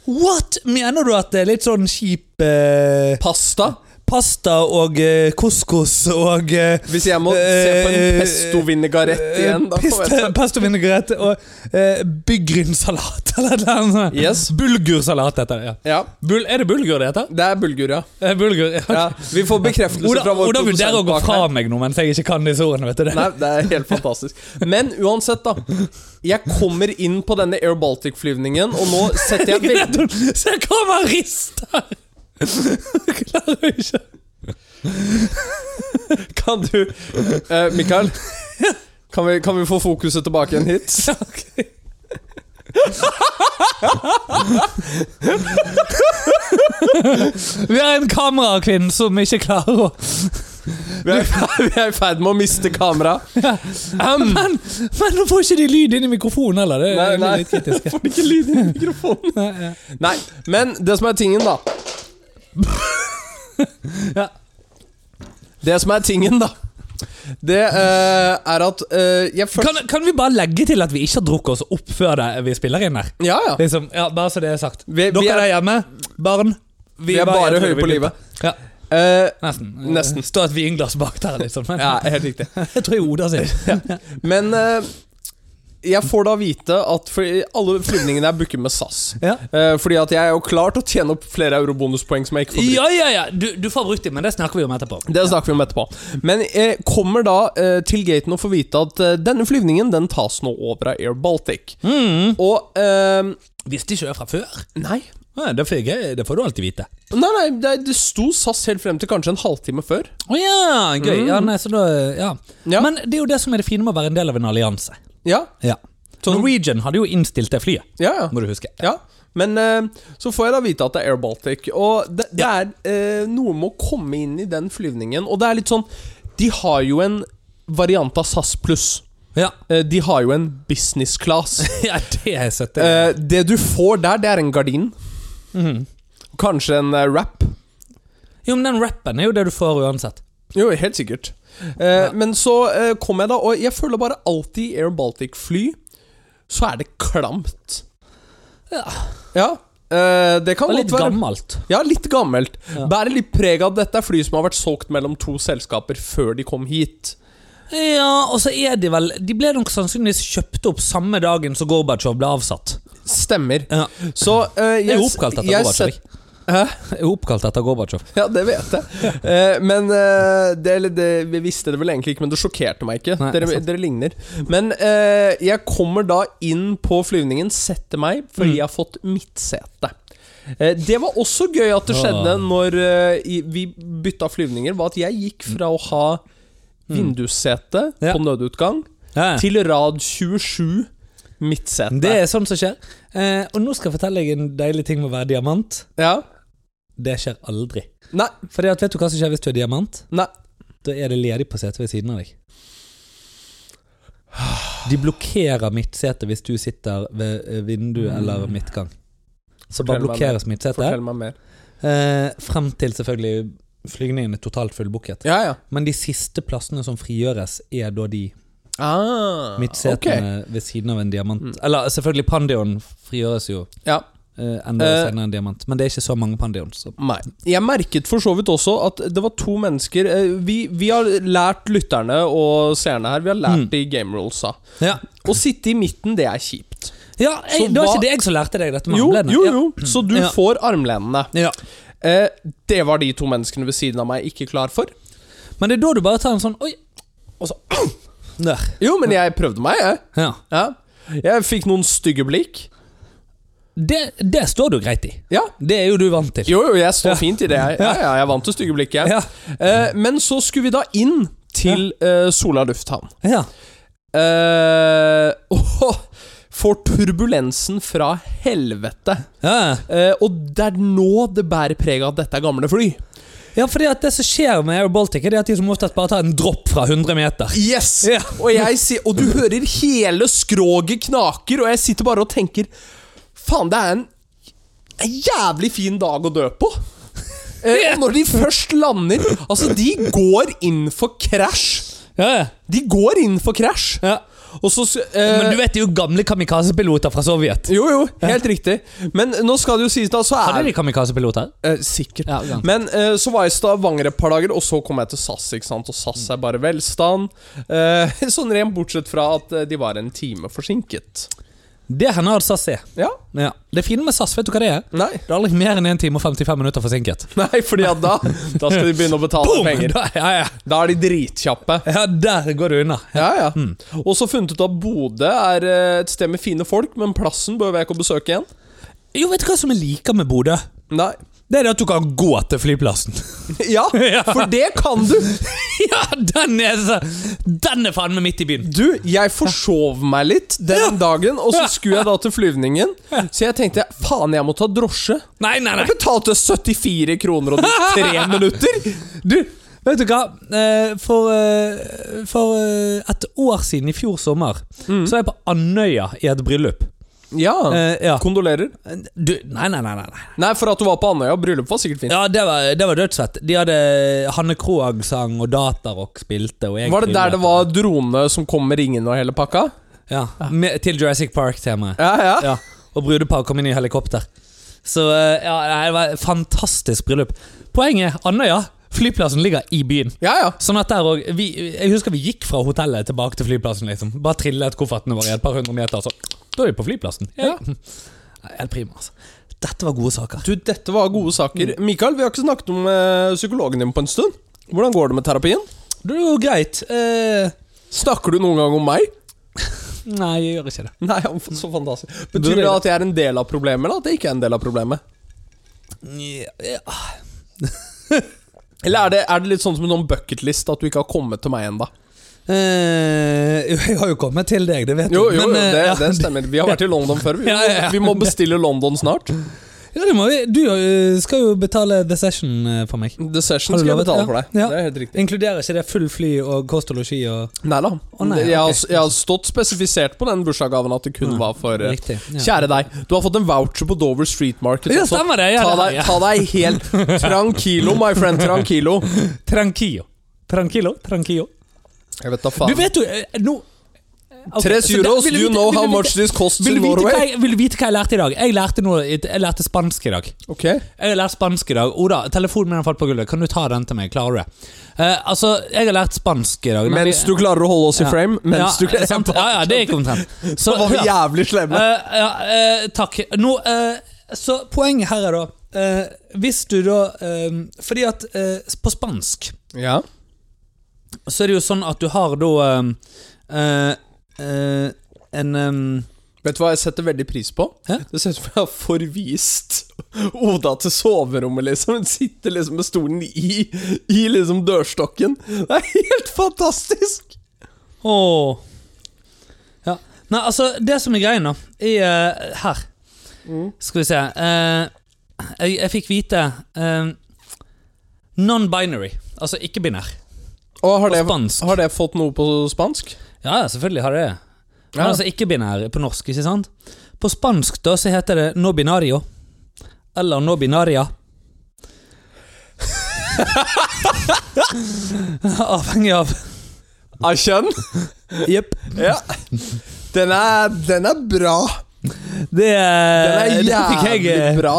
[SPEAKER 1] What? Mener du at det er litt sånn kjip eh,
[SPEAKER 2] Pasta.
[SPEAKER 1] pasta og eh, couscous og eh,
[SPEAKER 2] Hvis jeg må se på en
[SPEAKER 1] Eh,
[SPEAKER 2] pesto vinegarett igjen, da får jeg
[SPEAKER 1] piste- Pesto vinaigrette og eh, byggrynsalat eller et eller annet. sånt.
[SPEAKER 2] Yes.
[SPEAKER 1] Bulgursalat heter det. ja.
[SPEAKER 2] Ja,
[SPEAKER 1] Bul er det bulgur det heter?
[SPEAKER 2] det er bulgur, ja.
[SPEAKER 1] Eh, Bulgur, ja.
[SPEAKER 2] ja. Vi får bekreftelse
[SPEAKER 1] Oda,
[SPEAKER 2] fra vår
[SPEAKER 1] Oda vurderer å gå
[SPEAKER 2] bak her.
[SPEAKER 1] fra meg nå mens jeg ikke kan disse ordene. vet du det?
[SPEAKER 2] Nei, det er helt fantastisk. Men uansett, da. Jeg kommer inn på denne Air Baltic-flyvningen, og nå setter jeg veldig
[SPEAKER 1] Se hva man rister! Klarer jo ikke
[SPEAKER 2] Kan du eh, Mikael? Kan vi, kan vi få fokuset tilbake igjen hit?
[SPEAKER 1] Ja, ok. Vi har en kamerakvinne som ikke klarer å
[SPEAKER 2] Vi er, vi er i ferd med å miste kameraet. Um,
[SPEAKER 1] Men, men nå får ikke de lyd inn i mikrofonen heller. Det
[SPEAKER 2] nei,
[SPEAKER 1] er
[SPEAKER 2] nei.
[SPEAKER 1] litt kritisk.
[SPEAKER 2] Får ikke lyd i mikrofonen.
[SPEAKER 1] Nei, ja.
[SPEAKER 2] Nei, men det som er tingen, da
[SPEAKER 1] Ja.
[SPEAKER 2] Det som er tingen, da, det eh, er at eh, jeg først
[SPEAKER 1] Kan, kan vi bare legge til at vi ikke har drukket oss opp før det, vi spiller inn her?
[SPEAKER 2] Ja, ja.
[SPEAKER 1] Liksom, ja, bare så det er sagt.
[SPEAKER 2] Vi, vi,
[SPEAKER 1] Dere
[SPEAKER 2] er,
[SPEAKER 1] der hjemme, barn
[SPEAKER 2] vi er
[SPEAKER 1] var
[SPEAKER 2] bare
[SPEAKER 1] edru,
[SPEAKER 2] høye
[SPEAKER 1] vi
[SPEAKER 2] på
[SPEAKER 1] ble-
[SPEAKER 2] livet.
[SPEAKER 1] Ja.
[SPEAKER 2] Eh,
[SPEAKER 1] Nesten.
[SPEAKER 2] Nesten.
[SPEAKER 1] Står et vinglass bak der, liksom. Men,
[SPEAKER 2] ja, helt riktig.
[SPEAKER 1] Jeg tror jeg Oda sier
[SPEAKER 2] Men eh, jeg får da vite at fordi alle flyvningene er booket med SAS.
[SPEAKER 1] Ja.
[SPEAKER 2] Eh, fordi at jeg er jo klar til å tjene opp flere eurobonuspoeng som jeg ikke får brukt.
[SPEAKER 1] Ja, ja, ja. Du, du får brukt dem, men det snakker vi om etterpå.
[SPEAKER 2] Det snakker vi om etterpå. Men jeg kommer da eh, til gaten og får vite at eh, denne flyvningen den tas nå over av Air Baltic.
[SPEAKER 1] Mm.
[SPEAKER 2] Og eh,
[SPEAKER 1] Visste ikke det fra før.
[SPEAKER 2] Nei.
[SPEAKER 1] Ja, det, får jeg, det får du alltid vite.
[SPEAKER 2] Nei, nei, det, det sto SAS helt frem til kanskje en halvtime før.
[SPEAKER 1] Å ja, gøy. Ja, nei, så da, ja.
[SPEAKER 2] Mm. Ja.
[SPEAKER 1] Men det er jo det som er det fine med å være en del av en allianse.
[SPEAKER 2] Ja,
[SPEAKER 1] Ja. Norwegian hadde jo innstilt det flyet,
[SPEAKER 2] ja, ja.
[SPEAKER 1] må du huske.
[SPEAKER 2] Ja, men eh, så får jeg da vite at det er Air Baltic. Og det, det er eh, noe med å komme inn i den flyvningen. Og det er litt sånn De har jo en variant av SAS pluss.
[SPEAKER 1] Ja,
[SPEAKER 2] Eh, de har jo en business class.
[SPEAKER 1] ja det er søtt. det.
[SPEAKER 2] Eh, det du får der, det er en gardin.
[SPEAKER 1] Mhm.
[SPEAKER 2] Kanskje en eh, wrap.
[SPEAKER 1] Jo, men den rappen er jo det du får uansett.
[SPEAKER 2] Jo, helt sikkert. Eh, Men så eh, kom jeg da, og jeg føler bare alltid i Air Baltic-fly så er det klamt.
[SPEAKER 1] Ja.
[SPEAKER 2] Ja, eh, det kan
[SPEAKER 1] Og
[SPEAKER 2] godt
[SPEAKER 1] litt
[SPEAKER 2] være
[SPEAKER 1] gammelt.
[SPEAKER 2] Ja, litt gammelt.
[SPEAKER 1] Ja.
[SPEAKER 2] Bærer litt preg av at dette er fly som har vært solgt mellom to selskaper før de kom hit.
[SPEAKER 1] Ja, og så er de vel De ble nok sannsynligvis kjøpt opp samme dagen som Gorbatsjov ble avsatt.
[SPEAKER 2] Stemmer.
[SPEAKER 1] Ja.
[SPEAKER 2] Så eh,
[SPEAKER 1] Det er
[SPEAKER 2] jeg,
[SPEAKER 1] jo oppkalt etter
[SPEAKER 2] jeg
[SPEAKER 1] Gorbatsjov.
[SPEAKER 2] set-
[SPEAKER 1] ikke?
[SPEAKER 2] Hæ?
[SPEAKER 1] Det er jo oppkalt etter Gorbatsjov.
[SPEAKER 2] Ja, det vet jeg. Eh, men eh, det, eller det, vi visste det vel egentlig ikke, men det sjokkerte meg ikke.
[SPEAKER 1] Nei,
[SPEAKER 2] dere,
[SPEAKER 1] sant.
[SPEAKER 2] dere ligner. Men eh, jeg kommer da inn på flyvningen, setter
[SPEAKER 1] Mm.
[SPEAKER 2] meg, fordi jeg har fått midtsete. Eh, det var også gøy at det skjedde
[SPEAKER 1] Åh.
[SPEAKER 2] når eh, i, vi bytta flyvninger, var at jeg gikk fra å ha vindussete
[SPEAKER 1] Mm. Ja.
[SPEAKER 2] på nødutgang
[SPEAKER 1] Ja.
[SPEAKER 2] til rad 27 midtsete.
[SPEAKER 1] Det er sånt som skjer. Eh, og nå skal jeg fortelle deg en deilig ting med å være diamant.
[SPEAKER 2] Ja.
[SPEAKER 1] Det skjer aldri.
[SPEAKER 2] Nei,
[SPEAKER 1] Fordi at Vet du hva som skjer hvis du er diamant?
[SPEAKER 2] nei.
[SPEAKER 1] Da er det ledig på setet ved siden av deg. De blokkerer midtsetet hvis du sitter ved eh, vindu eller midtgang. Så bare
[SPEAKER 2] Mm. Fortell meg
[SPEAKER 1] blokkeres midtsetet.
[SPEAKER 2] Fortell meg mer.
[SPEAKER 1] Eh, frem til selvfølgelig flygningen er totalt fullbooket.
[SPEAKER 2] Ja, ja.
[SPEAKER 1] Men de siste plassene som frigjøres, er da de
[SPEAKER 2] Ah, ok. Mm.
[SPEAKER 1] midtsetene ved siden av en diamant. Eller selvfølgelig, Pandeon frigjøres jo
[SPEAKER 2] Ja.
[SPEAKER 1] eh, enda
[SPEAKER 2] Eh.
[SPEAKER 1] senere enn diamant, men det er ikke så mange Pandeons. så-
[SPEAKER 2] Nei. Jeg merket for så vidt også at det var to mennesker eh, Vi, vi har lært lytterne og seerne her Vi har lært
[SPEAKER 1] Mm.
[SPEAKER 2] de game rulesa.
[SPEAKER 1] Ja,
[SPEAKER 2] Å sitte i midten, det er kjipt.
[SPEAKER 1] ja jeg,
[SPEAKER 2] Så
[SPEAKER 1] Det var
[SPEAKER 2] hva-
[SPEAKER 1] ikke det jeg som lærte deg dette med
[SPEAKER 2] Jo,
[SPEAKER 1] håndleddene.
[SPEAKER 2] jo, jo. Så du
[SPEAKER 1] Ja.
[SPEAKER 2] får armlenene.
[SPEAKER 1] Ja. Ja.
[SPEAKER 2] Eh, det var de to menneskene ved siden av meg ikke klar for.
[SPEAKER 1] Men det er da du bare tar en sånn Oi! Og så Der.
[SPEAKER 2] Jo, men jeg prøvde meg, jeg.
[SPEAKER 1] Ja.
[SPEAKER 2] Ja. Jeg fikk noen stygge blikk.
[SPEAKER 1] Det, det står du greit i.
[SPEAKER 2] Ja.
[SPEAKER 1] Det er jo du vant til.
[SPEAKER 2] Jo, jo, jeg står fint i det. Jeg, ja, ja, jeg vant til stygge blikk, jeg.
[SPEAKER 1] Ja.
[SPEAKER 2] Eh, men så skulle vi da inn til eh, Sola lufthavn.
[SPEAKER 1] ja.
[SPEAKER 2] Eh, åh, for turbulensen fra helvete.
[SPEAKER 1] ja.
[SPEAKER 2] Eh, og det er nå det bærer preg av at dette er gamle fly.
[SPEAKER 1] ja fordi at det som skjer med Air Baltic, er det at de som oftest bare tar en dropp fra 100 meter.
[SPEAKER 2] Yes!
[SPEAKER 1] Ja.
[SPEAKER 2] Og, jeg, si- og du hører hele skroget knaker, og jeg sitter bare og tenker Faen, det er en, en jævlig fin dag å dø på. Eh, og når de først lander Altså, de går inn for krasj.
[SPEAKER 1] Ja, ja.
[SPEAKER 2] De går inn for krasj.
[SPEAKER 1] Ja.
[SPEAKER 2] Og så s- eh,
[SPEAKER 1] Men du vet det er jo gamle kamikazepiloter fra Sovjet.
[SPEAKER 2] Jo, jo, helt riktig. Men nå skal det jo sies, da, så er
[SPEAKER 1] Hadde de kamikazepiloter?
[SPEAKER 2] Eh, sikkert.
[SPEAKER 1] Ja, ja.
[SPEAKER 2] Men eh, så var jeg i Stavanger et par dager, og så kom jeg til SAS, ikke sant? og SAS er bare velstand. Eh, sånn ren bortsett fra at eh, de var en time forsinket.
[SPEAKER 1] Det hender at SAS er.
[SPEAKER 2] Ja.
[SPEAKER 1] Ja. Det fine med SAS, vet du hva det er?
[SPEAKER 2] Nei.
[SPEAKER 1] Det er aldri mer enn 1 time og 55 minutter forsinket.
[SPEAKER 2] Nei, fordi at da Da skal de begynne å betale penger.
[SPEAKER 1] Da, ja, ja.
[SPEAKER 2] Da er de dritkjappe.
[SPEAKER 1] ja, der går du unna.
[SPEAKER 2] Ja, ja. Og så funnet ut at Bodø er eh, et sted med fine folk, men plassen bør jeg ikke besøke igjen.
[SPEAKER 1] Jo, vet du hva som jeg liker med Bodø?
[SPEAKER 2] Nei.
[SPEAKER 1] Det er det at du kan gå til flyplassen.
[SPEAKER 2] Ja, for det kan du!
[SPEAKER 1] ja, den er så Den er faen meg midt i byen.
[SPEAKER 2] Du, jeg forsov meg litt den dagen, og så skulle jeg da til flyvningen. Så jeg tenkte faen, jeg må ta drosje.
[SPEAKER 1] Nei, nei, nei.
[SPEAKER 2] Jeg betalte 74 kroner og tre minutter!
[SPEAKER 1] Du, vet du hva? Eh, For, eh, for eh, et år siden, i fjor sommer, så var jeg på Andøya i et bryllup.
[SPEAKER 2] Mm. Ja.
[SPEAKER 1] Eh, ja.
[SPEAKER 2] Kondolerer.
[SPEAKER 1] Du, nei, nei, nei. nei. nei.
[SPEAKER 2] Nei, for at du var på Andøya. Bryllup var sikkert fint.
[SPEAKER 1] Ja, det var, det var dødsfett. De hadde Hanne Krogh sang, og Datarock spilte. Og jeg
[SPEAKER 2] Var det
[SPEAKER 1] krydret.
[SPEAKER 2] der det var drone som kom med ringene og hele pakka?
[SPEAKER 1] Ja, med, Til Jurassic Park-temaet.
[SPEAKER 2] Ja, ja.
[SPEAKER 1] Ja, og brudepar kom inn i helikopter. Så eh, ja, nei, det var et fantastisk bryllup. Poenget er Andøya. Flyplassen ligger i byen.
[SPEAKER 2] Ja, ja.
[SPEAKER 1] Sånn at der også, vi, Jeg husker vi gikk fra hotellet tilbake til flyplassen. liksom Bare trillet koffertene våre i et par hundre meter. Så. Da er vi på flyplassen. Ja. Nei, Helt prima, altså. Dette var gode saker.
[SPEAKER 2] Du, dette var gode saker. Mikael, vi har ikke snakket om eh, psykologen din på en stund. Hvordan går det med terapien?
[SPEAKER 1] Det er jo greit. Eh,
[SPEAKER 2] Snakker du noen gang om meg?
[SPEAKER 1] nei, jeg gjør ikke det.
[SPEAKER 2] Nei, han er så fantastisk. Betyr det at jeg er en del av problemet, eller at jeg ikke er en del av problemet?
[SPEAKER 1] Ja.
[SPEAKER 2] Eller er det, er det litt sånn som en sånn bucketlist, at du ikke har kommet til meg ennå?
[SPEAKER 1] Eh, jo, jeg har jo kommet til deg, det vet du.
[SPEAKER 2] Jo, jo, jo
[SPEAKER 1] Men, eh,
[SPEAKER 2] det,
[SPEAKER 1] ja,
[SPEAKER 2] det stemmer. Vi har vært i London før. Vi,
[SPEAKER 1] Ja, ja, ja.
[SPEAKER 2] vi må bestille London snart.
[SPEAKER 1] Ja, det må vi. Du eh, skal jo betale The Session eh, for meg.
[SPEAKER 2] The Session
[SPEAKER 1] Har du
[SPEAKER 2] skal jeg
[SPEAKER 1] lovet?
[SPEAKER 2] betale
[SPEAKER 1] Ja.
[SPEAKER 2] for deg.
[SPEAKER 1] Ja.
[SPEAKER 2] Det er helt riktig.
[SPEAKER 1] Inkluderer ikke det full fly og kost og losji og
[SPEAKER 2] Nei da.
[SPEAKER 1] nei,
[SPEAKER 2] jeg, har,
[SPEAKER 1] ok. Mm.
[SPEAKER 2] jeg har stått spesifisert på den bursdagsgaven at det kun var for eh,
[SPEAKER 1] Riktig, ja.
[SPEAKER 2] Kjære deg, du har fått en voucher på Dover Street Market.
[SPEAKER 1] Ja,
[SPEAKER 2] også.
[SPEAKER 1] stemmer det, ja, det
[SPEAKER 2] ta,
[SPEAKER 1] har
[SPEAKER 2] deg,
[SPEAKER 1] jeg.
[SPEAKER 2] ta deg helt tranquilo, my friend. Tranquilo.
[SPEAKER 1] Tranquillo. Tranquillo? Tranquillo.
[SPEAKER 2] Jeg vet da
[SPEAKER 1] Du
[SPEAKER 2] faen.
[SPEAKER 1] vet jo eh, nå
[SPEAKER 2] Eh,
[SPEAKER 1] Ok,
[SPEAKER 2] Tres
[SPEAKER 1] så
[SPEAKER 2] euros,
[SPEAKER 1] det- vil
[SPEAKER 2] you
[SPEAKER 1] vite-
[SPEAKER 2] know
[SPEAKER 1] vil
[SPEAKER 2] how
[SPEAKER 1] vite-
[SPEAKER 2] much this costs
[SPEAKER 1] vil
[SPEAKER 2] in
[SPEAKER 1] du, vite hva
[SPEAKER 2] Norway.
[SPEAKER 1] jeg, vil du vite hva jeg lærte i dag? Jeg lærte, noe, jeg lærte spansk i dag.
[SPEAKER 2] Ok.
[SPEAKER 1] Jeg har lært spansk i dag. Oda, telefonen min har falt på gulvet. Kan du ta den til meg? Klarer du det? Eh, altså, jeg har lært spansk i dag.
[SPEAKER 2] Mens du klarer å holde oss i frame.
[SPEAKER 1] ja,
[SPEAKER 2] Mens du klarer
[SPEAKER 1] sant? ja, ja, det gikk omtrent. Så,
[SPEAKER 2] Da var vi
[SPEAKER 1] hør.
[SPEAKER 2] jævlig slemme.
[SPEAKER 1] Eh, ja, eh, takk. Nå, eh, så poenget her er da eh, Hvis du da eh, Fordi at eh, på spansk
[SPEAKER 2] Ja.
[SPEAKER 1] så er det jo sånn at du har da eh, eh, eh, en eh,
[SPEAKER 2] Vet du hva jeg setter veldig pris på?
[SPEAKER 1] Hæ?
[SPEAKER 2] Det ser ut som jeg har forvist Oda til soverommet, liksom. Hun sitter liksom med stolen i, i liksom dørstokken. Det er helt fantastisk!
[SPEAKER 1] Åh Ja. Nei, altså, det som er greia nå, er eh, her. Skal vi se eh, jeg, jeg fikk vite eh, Non-binary. Altså ikke-binær.
[SPEAKER 2] Og har
[SPEAKER 1] På
[SPEAKER 2] det,
[SPEAKER 1] spansk.
[SPEAKER 2] har det fått noe på spansk?
[SPEAKER 1] Ja, ja, selvfølgelig har det det. Men
[SPEAKER 2] Ja.
[SPEAKER 1] altså ikke-binær på norsk, ikke sant? På spansk da så heter det no binario. Eller no binaria. Avhengig av
[SPEAKER 2] Av kjønn?
[SPEAKER 1] Jepp.
[SPEAKER 2] Ja. Den er, den er bra.
[SPEAKER 1] Det, eh,
[SPEAKER 2] Den er
[SPEAKER 1] det fikk
[SPEAKER 2] jævlig
[SPEAKER 1] jeg eh,
[SPEAKER 2] bra.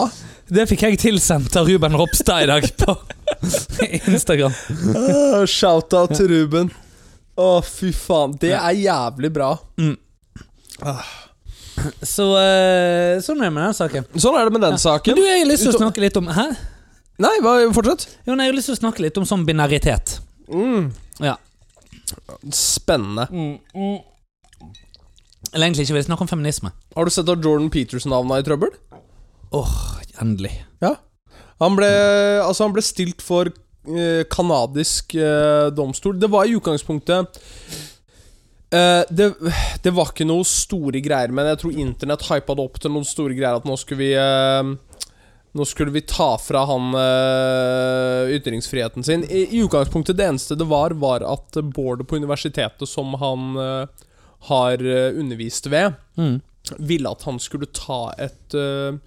[SPEAKER 1] Det fikk jeg tilsendt av Ruben Ropstad i dag på Instagram.
[SPEAKER 2] Ah, Shout-out til Ruben. Å, fy faen. Det er jævlig bra.
[SPEAKER 1] Så eh, sånn er det med den saken.
[SPEAKER 2] Sånn er det med den
[SPEAKER 1] Men
[SPEAKER 2] saken.
[SPEAKER 1] du, jeg har lyst til å snakke litt om Hæ?
[SPEAKER 2] Nei, hva- fortsett.
[SPEAKER 1] Jo, nei, jeg har lyst til å snakke litt om sånn binaritet.
[SPEAKER 2] Mm.
[SPEAKER 1] Ja.
[SPEAKER 2] Spennende.
[SPEAKER 1] Eller egentlig ikke vil jeg snakke om feminisme.
[SPEAKER 2] Har du sett at Jordan Peterson havna i trøbbel?
[SPEAKER 1] Endelig.
[SPEAKER 2] Ja. Han ble, altså han ble stilt for eh, kanadisk eh, domstol. Det var i utgangspunktet eh, det, det var ikke noe store greier, men jeg tror internett hypa det opp til noen store greier. At nå skulle vi eh, Nå skulle vi ta fra han eh, ytringsfriheten sin. I, I utgangspunktet det eneste det var, var at boardet på universitetet som han eh, har eh, undervist ved, ville at han skulle ta et eh,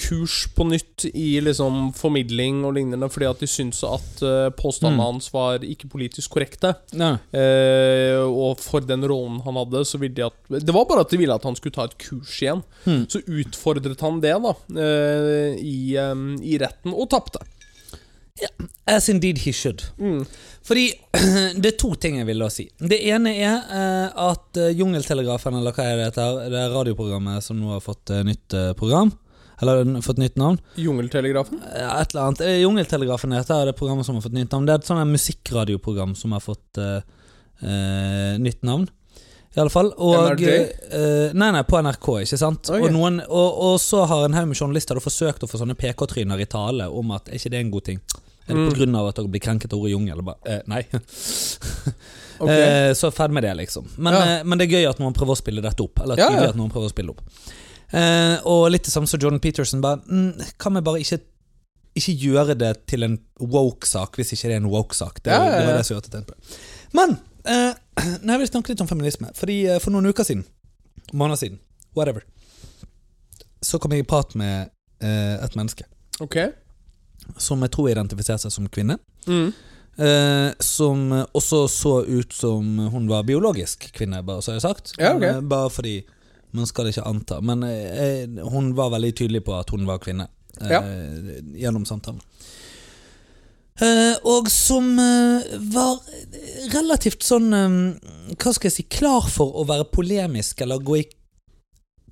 [SPEAKER 2] kurs på nytt i liksom formidling og lignende, fordi at de syntes at eh, påstandene
[SPEAKER 1] Mm.
[SPEAKER 2] hans var ikke politisk korrekte.
[SPEAKER 1] Ja.
[SPEAKER 2] Eh, og for den rollen han hadde, så ville de at Det var bare at de ville at han skulle ta et kurs igjen.
[SPEAKER 1] Hmm.
[SPEAKER 2] Så utfordret han det, da, eh, i, eh, i retten, og tapte.
[SPEAKER 1] As indeed he should.
[SPEAKER 2] Mm.
[SPEAKER 1] Fordi det er to ting jeg vil da si. Det ene er eh, at eh, Jungeltelegrafen, eller hva er det heter, det er radioprogrammet som nå har fått eh, nytt eh, program. Eller n- fått nytt navn.
[SPEAKER 2] Jungeltelegrafen.
[SPEAKER 1] Eh, Et eller annet. Eh, Jungeltelegrafen heter det programmet som har fått nytt navn. Det er et sånt her musikkradioprogram som har fått eh, eh, nytt navn. I alle fall. Og,
[SPEAKER 2] NRJ?
[SPEAKER 1] eh, nei, nei, på NRK, ikke sant.
[SPEAKER 2] Ok.
[SPEAKER 1] Og, noen, og, og så har en haug med journalister da forsøkt å få sånne PK-tryner i tale om at er ikke det en god ting? Er det
[SPEAKER 2] Mm.
[SPEAKER 1] på grunn av at dere blir krenket av ordet jungel? Eller bare, eh, nei.
[SPEAKER 2] Ok.
[SPEAKER 1] Eh, så ferdig med det, liksom. Men,
[SPEAKER 2] Ja.
[SPEAKER 1] eh, men det er gøy at noen prøver å spille dette opp. Eller
[SPEAKER 2] Ja,
[SPEAKER 1] tydelig
[SPEAKER 2] ja.
[SPEAKER 1] at noen prøver å spille opp eh, Og litt det samme som Jordan Peterson. Bare, mm, kan vi bare ikke Ikke gjøre det til en woke-sak, hvis ikke det er en woke-sak? Det,
[SPEAKER 2] Ja, ja, ja.
[SPEAKER 1] det var det som gjorde at jeg tenkte på det. Men eh, nå vil jeg snakke litt om feminisme. Fordi eh, For noen uker siden, måneder siden, whatever, så kom jeg i prat med eh, et menneske
[SPEAKER 2] ok.
[SPEAKER 1] som jeg tror identifiserer seg som kvinne.
[SPEAKER 2] Mm.
[SPEAKER 1] Eh, som også så ut som hun var biologisk kvinne, bare så har jeg sagt.
[SPEAKER 2] Ja, ok.
[SPEAKER 1] Men, eh, bare fordi man skal ikke anta. Men eh, eh, hun var veldig tydelig på at hun var kvinne eh,
[SPEAKER 2] Ja.
[SPEAKER 1] gjennom samtalen. Eh, og som eh, var relativt sånn eh, Hva skal jeg si Klar for å være polemisk eller gå i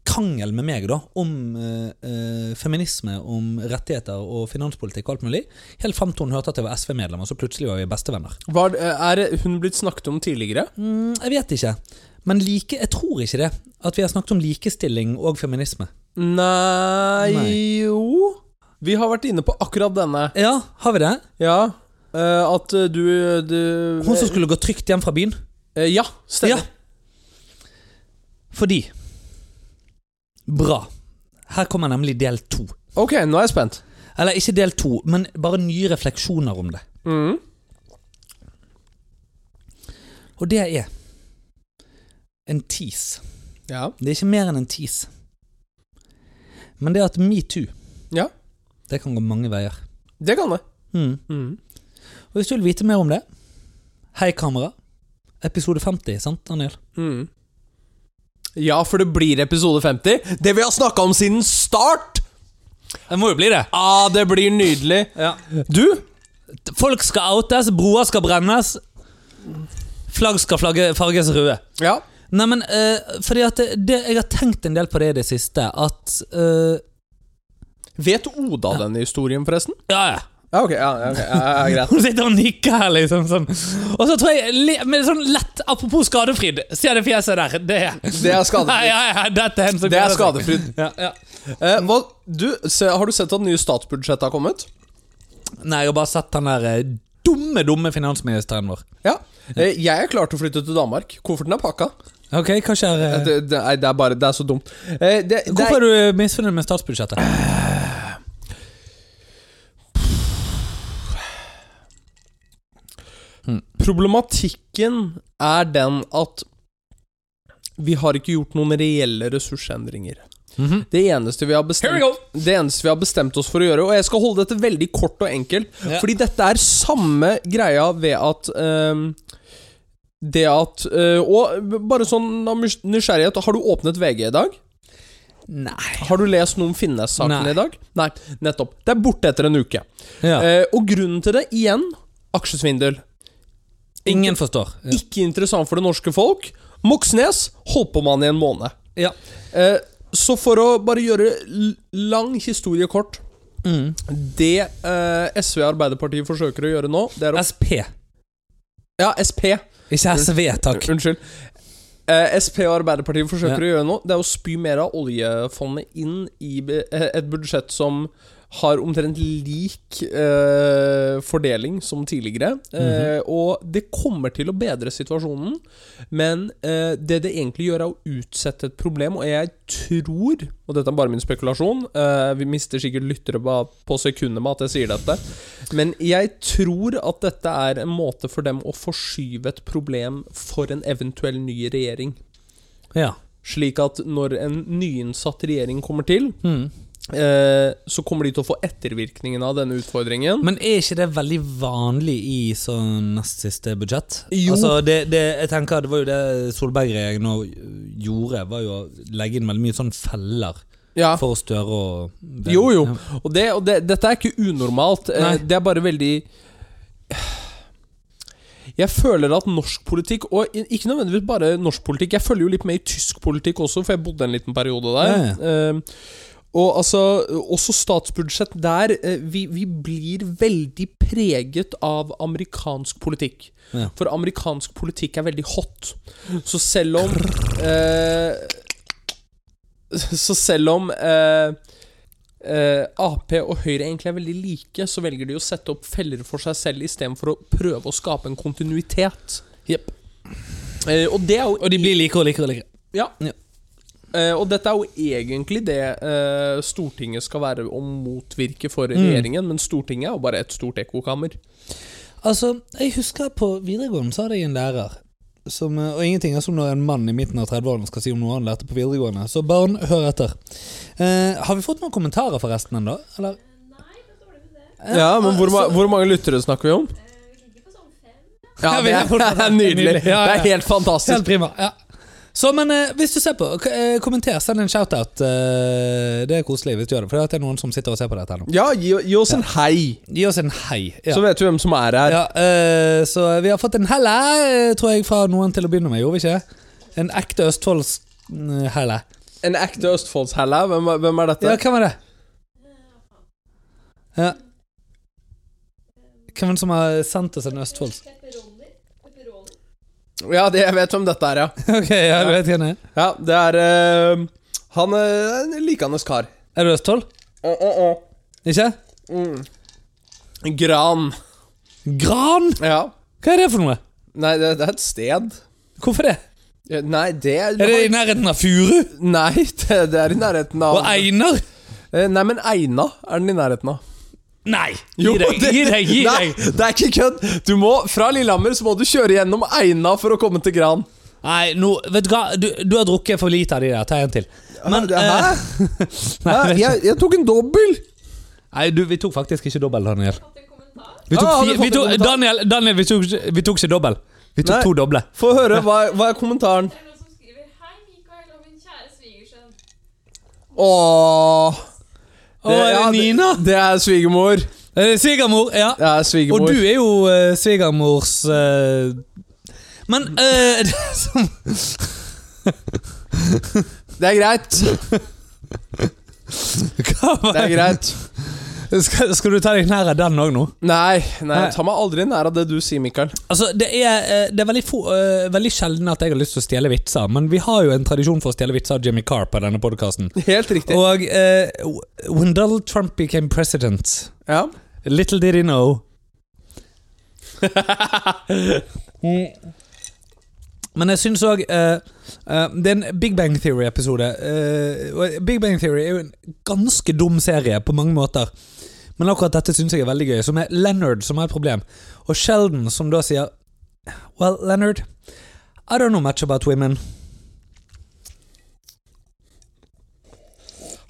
[SPEAKER 1] krangel med meg da om eh, eh, feminisme, om rettigheter og finanspolitikk og alt mulig. Helt fram til hun hørte at jeg var SV-medlem, og så plutselig var vi bestevenner.
[SPEAKER 2] Var, er hun blitt snakket om tidligere?
[SPEAKER 1] Mm, jeg vet ikke. Men like, jeg tror ikke det. At vi har snakket om likestilling og feminisme.
[SPEAKER 2] Nei,
[SPEAKER 1] Nei.
[SPEAKER 2] jo Vi har vært inne på akkurat denne.
[SPEAKER 1] Ja, har vi det?
[SPEAKER 2] Ja. eh, at eh, du, du
[SPEAKER 1] Hun som skulle gå trygt hjem fra byen.
[SPEAKER 2] Eh, Ja, stemmer.
[SPEAKER 1] Ja. Fordi Bra. Her kommer nemlig del to.
[SPEAKER 2] Ok, nå er jeg spent.
[SPEAKER 1] Eller ikke del to, men bare nye refleksjoner om det.
[SPEAKER 2] Mm.
[SPEAKER 1] Og det er en tease.
[SPEAKER 2] Ja.
[SPEAKER 1] Det er ikke mer enn en tease. Men det at metoo
[SPEAKER 2] Ja.
[SPEAKER 1] Det kan gå mange veier.
[SPEAKER 2] Det kan det.
[SPEAKER 1] Mm. Og hvis du vil vite mer om det Hei, kamera. Episode 50, sant, Daniel?
[SPEAKER 2] Mm. Ja, for det blir episode 50. Det vi har snakka om siden start!
[SPEAKER 1] Det må jo bli det.
[SPEAKER 2] Ah, det blir nydelig. Du?
[SPEAKER 1] Folk skal outes, broer skal brennes. Flagg skal flagge, farges røde.
[SPEAKER 2] Ja.
[SPEAKER 1] Neimen, uh, fordi at det, det, jeg har tenkt en del på det i det siste, at eh,
[SPEAKER 2] Vet Oda denne historien, forresten?
[SPEAKER 1] Ja, ja.
[SPEAKER 2] Ja, ok. Ja, ja, ok. ja, ja, ja, greit.
[SPEAKER 1] Hun sitter og nikker her, liksom. sånn. Og så tror jeg, le- med sånn lett Apropos skadefryd, se det fjeset der. Det er
[SPEAKER 2] Det er skadefryd.
[SPEAKER 1] Ja, ja, ja, dette er en som
[SPEAKER 2] Det er
[SPEAKER 1] gleder seg.
[SPEAKER 2] skadefryd.
[SPEAKER 1] Ja, ja.
[SPEAKER 2] Eh, hva, du, se, har du sett at nye statsbudsjettet har kommet?
[SPEAKER 1] Nei, jeg har bare sett den der eh, dumme, dumme finansministeren vår.
[SPEAKER 2] Ja. Eh, jeg er klar til å flytte til Danmark. Kofferten er pakka.
[SPEAKER 1] Ok, hva skjer? eh,
[SPEAKER 2] Det, det, nei, det er bare Det er så dumt. Eh, det, det
[SPEAKER 1] Hvorfor er du misfornøyd med statsbudsjettet?
[SPEAKER 2] Problematikken er den at vi har ikke gjort noen reelle ressursendringer. Det eneste, vi har
[SPEAKER 1] Here we
[SPEAKER 2] bestemt, det eneste vi har bestemt oss for å gjøre, og jeg skal holde dette veldig kort og enkelt,
[SPEAKER 1] Ja.
[SPEAKER 2] fordi dette er samme greia ved at ehm, Det at eh, Og bare sånn av nys- nysgjerrighet, har du åpnet VG i dag?
[SPEAKER 1] Nei.
[SPEAKER 2] Har du lest noe om Finnes-saken
[SPEAKER 1] Nei.
[SPEAKER 2] i dag? Nei, nettopp. Det er borte etter en uke.
[SPEAKER 1] Ja.
[SPEAKER 2] Eh, og grunnen til det, igjen, aksjesvindel.
[SPEAKER 1] Ingen forstår. Ja.
[SPEAKER 2] Ikke interessant for det norske folk. Moxnes holdt på med han i en måned.
[SPEAKER 1] Ja.
[SPEAKER 2] Eh, så for å bare gjøre l- lang historie kort
[SPEAKER 1] Mm.
[SPEAKER 2] Det eh, SV og Arbeiderpartiet forsøker å gjøre nå, det er å
[SPEAKER 1] SP.
[SPEAKER 2] Ja, SP.
[SPEAKER 1] Ikke SV, takk.
[SPEAKER 2] Unnskyld. Eh, SP og Arbeiderpartiet forsøker å
[SPEAKER 1] Ja.
[SPEAKER 2] gjøre nå, det er å spy mer av oljefondet inn i be- eh, et budsjett som har omtrent lik eh, fordeling som tidligere. Eh,
[SPEAKER 1] Mhm.
[SPEAKER 2] og det kommer til å bedre situasjonen, men eh, det det egentlig gjør, er å utsette et problem. Og jeg tror, og dette er bare min spekulasjon eh, Vi mister sikkert lyttere på, på sekundet med at jeg sier dette, men jeg tror at dette er en måte for dem å forskyve et problem for en eventuell ny regjering.
[SPEAKER 1] Ja.
[SPEAKER 2] Slik at når en nyinnsatt regjering kommer til,
[SPEAKER 1] Mm.
[SPEAKER 2] eh, så kommer de til å få ettervirkningen av denne utfordringen.
[SPEAKER 1] Men er ikke det veldig vanlig i sånn nest siste budsjett?
[SPEAKER 2] Jo.
[SPEAKER 1] Altså, det, det, jeg tenker det var jo det Solberg-regjeringen nå gjorde, var jo å legge inn veldig mye sånn feller
[SPEAKER 2] Ja.
[SPEAKER 1] for Støre og
[SPEAKER 2] Jo, jo. Og, det, og det, dette er ikke unormalt. eh,
[SPEAKER 1] Nei.
[SPEAKER 2] Det er bare veldig Jeg føler at norsk politikk, og i- ikke nødvendigvis bare norsk politikk Jeg følger jo litt med i tysk politikk også, for jeg bodde en liten periode der. Eh, og altså, også statsbudsjett der eh, vi, vi blir veldig preget av amerikansk politikk.
[SPEAKER 1] Ja.
[SPEAKER 2] For amerikansk politikk er veldig hot. Så selv om eh, Så selv om eh, eh, Ap og Høyre egentlig er veldig like, så velger de å sette opp feller for seg selv istedenfor å prøve å skape en kontinuitet.
[SPEAKER 1] Jepp.
[SPEAKER 2] Eh, og det er jo
[SPEAKER 1] Og de blir likere og likere og likere.
[SPEAKER 2] Ja.
[SPEAKER 1] Ja.
[SPEAKER 2] Eh, og dette er jo egentlig det eh, Stortinget skal være å motvirke for regjeringen, men Stortinget er jo bare et stort ekkokammer.
[SPEAKER 1] Altså, jeg husker på videregående så hadde jeg en lærer som, eh, Og ingenting er som når en mann i midten av 30-årene skal si om noe han lærte på videregående. Så barn, hør etter. Eh, har vi fått noen kommentarer forresten ennå, eller?
[SPEAKER 2] Ja, men hvor, ma- hvor mange lyttere snakker vi om? Ja,
[SPEAKER 1] Ja, vi
[SPEAKER 2] det
[SPEAKER 1] er fortsatt-
[SPEAKER 2] er sånn nydelig.
[SPEAKER 1] nydelig. Ja, ja.
[SPEAKER 2] Det er helt fantastisk.
[SPEAKER 1] Helt prima. Ja. Så, men eh, hvis du ser på, k- eh, kommenter. Send en shout-out. Eh, det er koselig hvis du gjør det, for det er noen som sitter og ser på dette ennå.
[SPEAKER 2] Ja, gi, gi oss en hei,
[SPEAKER 1] Gi oss en hei. Ja.
[SPEAKER 2] så vet du hvem som er her.
[SPEAKER 1] ja, eh, så vi har fått en helle, eh, tror jeg, fra noen til å begynne med. Gjorde vi ikke? En ekte mm, Østfolds-helle.
[SPEAKER 2] En ekte Østfoldshelle. Hvem, er- hvem er dette?
[SPEAKER 1] Ja, hvem var det? Ja. Hvem er det som har sendt oss en Østfolds?
[SPEAKER 2] Ja, det, jeg vet hvem dette er, ja.
[SPEAKER 1] ok, ja, du vet hvem det er.
[SPEAKER 2] Ja, Det er eh, Han er en likandes kar.
[SPEAKER 1] Er du Østfold?
[SPEAKER 2] Å, å, å.
[SPEAKER 1] Ikke?
[SPEAKER 2] Gran.
[SPEAKER 1] Gran?
[SPEAKER 2] Ja.
[SPEAKER 1] Hva er det for noe?
[SPEAKER 2] Nei, det, det er et sted.
[SPEAKER 1] Hvorfor det?
[SPEAKER 2] Eh, Nei, det
[SPEAKER 1] Er det i nærheten av Furu?
[SPEAKER 2] Nei, det, det er i nærheten av
[SPEAKER 1] Og Einar?
[SPEAKER 2] Eh, Nei, men Eina er den i nærheten av.
[SPEAKER 1] Nei! Gi deg, gi deg! gi
[SPEAKER 2] Nei,
[SPEAKER 1] deg
[SPEAKER 2] det er ikke kødd! Du må, Fra Lillehammer så må du kjøre gjennom Eina for å komme til Gran.
[SPEAKER 1] Nei, nå, vet du hva? Du, du har drukket for lite av de der. Ta en til. Men, eh,
[SPEAKER 2] Hæ? Jeg, jeg tok en dobbel!
[SPEAKER 1] nei, du, vi tok faktisk ikke dobbel, Daniel. Vi tok,
[SPEAKER 2] Ah, har du
[SPEAKER 1] fire-
[SPEAKER 2] fått
[SPEAKER 1] vi
[SPEAKER 2] en
[SPEAKER 1] tok,
[SPEAKER 2] kommentar?
[SPEAKER 1] Daniel, Daniel vi, tok, ikke- vi tok ikke dobbel. Vi tok
[SPEAKER 2] Nei.
[SPEAKER 1] to doble.
[SPEAKER 2] Få høre, hva, er- hva er kommentaren?
[SPEAKER 4] Det er noen som skriver Hei, Mikael og min kjære svigersønn.
[SPEAKER 2] Åh
[SPEAKER 1] Å, er det
[SPEAKER 2] ja,
[SPEAKER 1] Nina?
[SPEAKER 2] Det, det er svigermor.
[SPEAKER 1] Eh, Svigermor, ja.
[SPEAKER 2] Det er svigermor.
[SPEAKER 1] Og du er jo eh, svigermors eh, Men eh, det som
[SPEAKER 2] Det er greit.
[SPEAKER 1] Hva
[SPEAKER 2] Det er
[SPEAKER 1] var
[SPEAKER 2] greit.
[SPEAKER 1] skal, skal du ta deg nær av den òg nå?
[SPEAKER 2] Nei, nei,
[SPEAKER 1] Nei.
[SPEAKER 2] ta meg aldri nær av det du sier, Mikael.
[SPEAKER 1] Altså, det er, eh, det er veldig, få, eh, veldig sjelden at jeg har lyst til å stjele vitser, men vi har jo en tradisjon for å stjele vitser av Jimmy Carr på denne podkasten.
[SPEAKER 2] Helt riktig.
[SPEAKER 1] Og eh, When Donald Trump became president,
[SPEAKER 2] Ja.
[SPEAKER 1] little did he know Mm. Men jeg syns òg Det er en Big Bang Theory-episode. eh, og Big Bang Theory er jo en ganske dum serie på mange måter. Men akkurat dette syns jeg er veldig gøy, som er Leonard som har et problem. Og Sheldon som da sier Well, Leonard, I don't know much about women.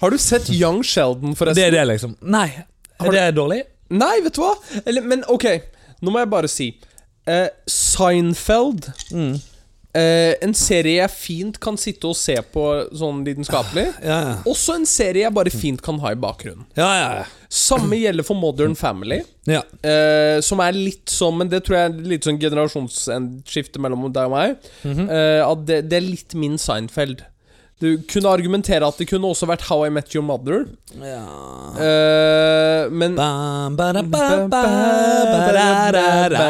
[SPEAKER 2] Har du sett Young Sheldon, forresten?
[SPEAKER 1] Det er det, liksom. Nei. Er det dårlig?
[SPEAKER 2] Nei, vet du hva? Eller, men ok, nå må jeg bare si eh, Seinfeld eh, En serie jeg fint kan sitte og se på sånn lidenskapelig.
[SPEAKER 1] Ja, ja.
[SPEAKER 2] Også en serie jeg bare fint kan ha i bakgrunnen.
[SPEAKER 1] Ja, ja, ja.
[SPEAKER 2] Samme gjelder for Modern Family.
[SPEAKER 1] Ja.
[SPEAKER 2] eh, som er litt sånn Men det tror jeg er litt sånn generasjonsskifte mellom deg og meg. eh, at det, det er litt min Seinfeld. Du kunne argumentere at det kunne også vært How I Met Your Mother. Eh, men
[SPEAKER 1] Bam, bada, ba, ba, bada, da, da, da,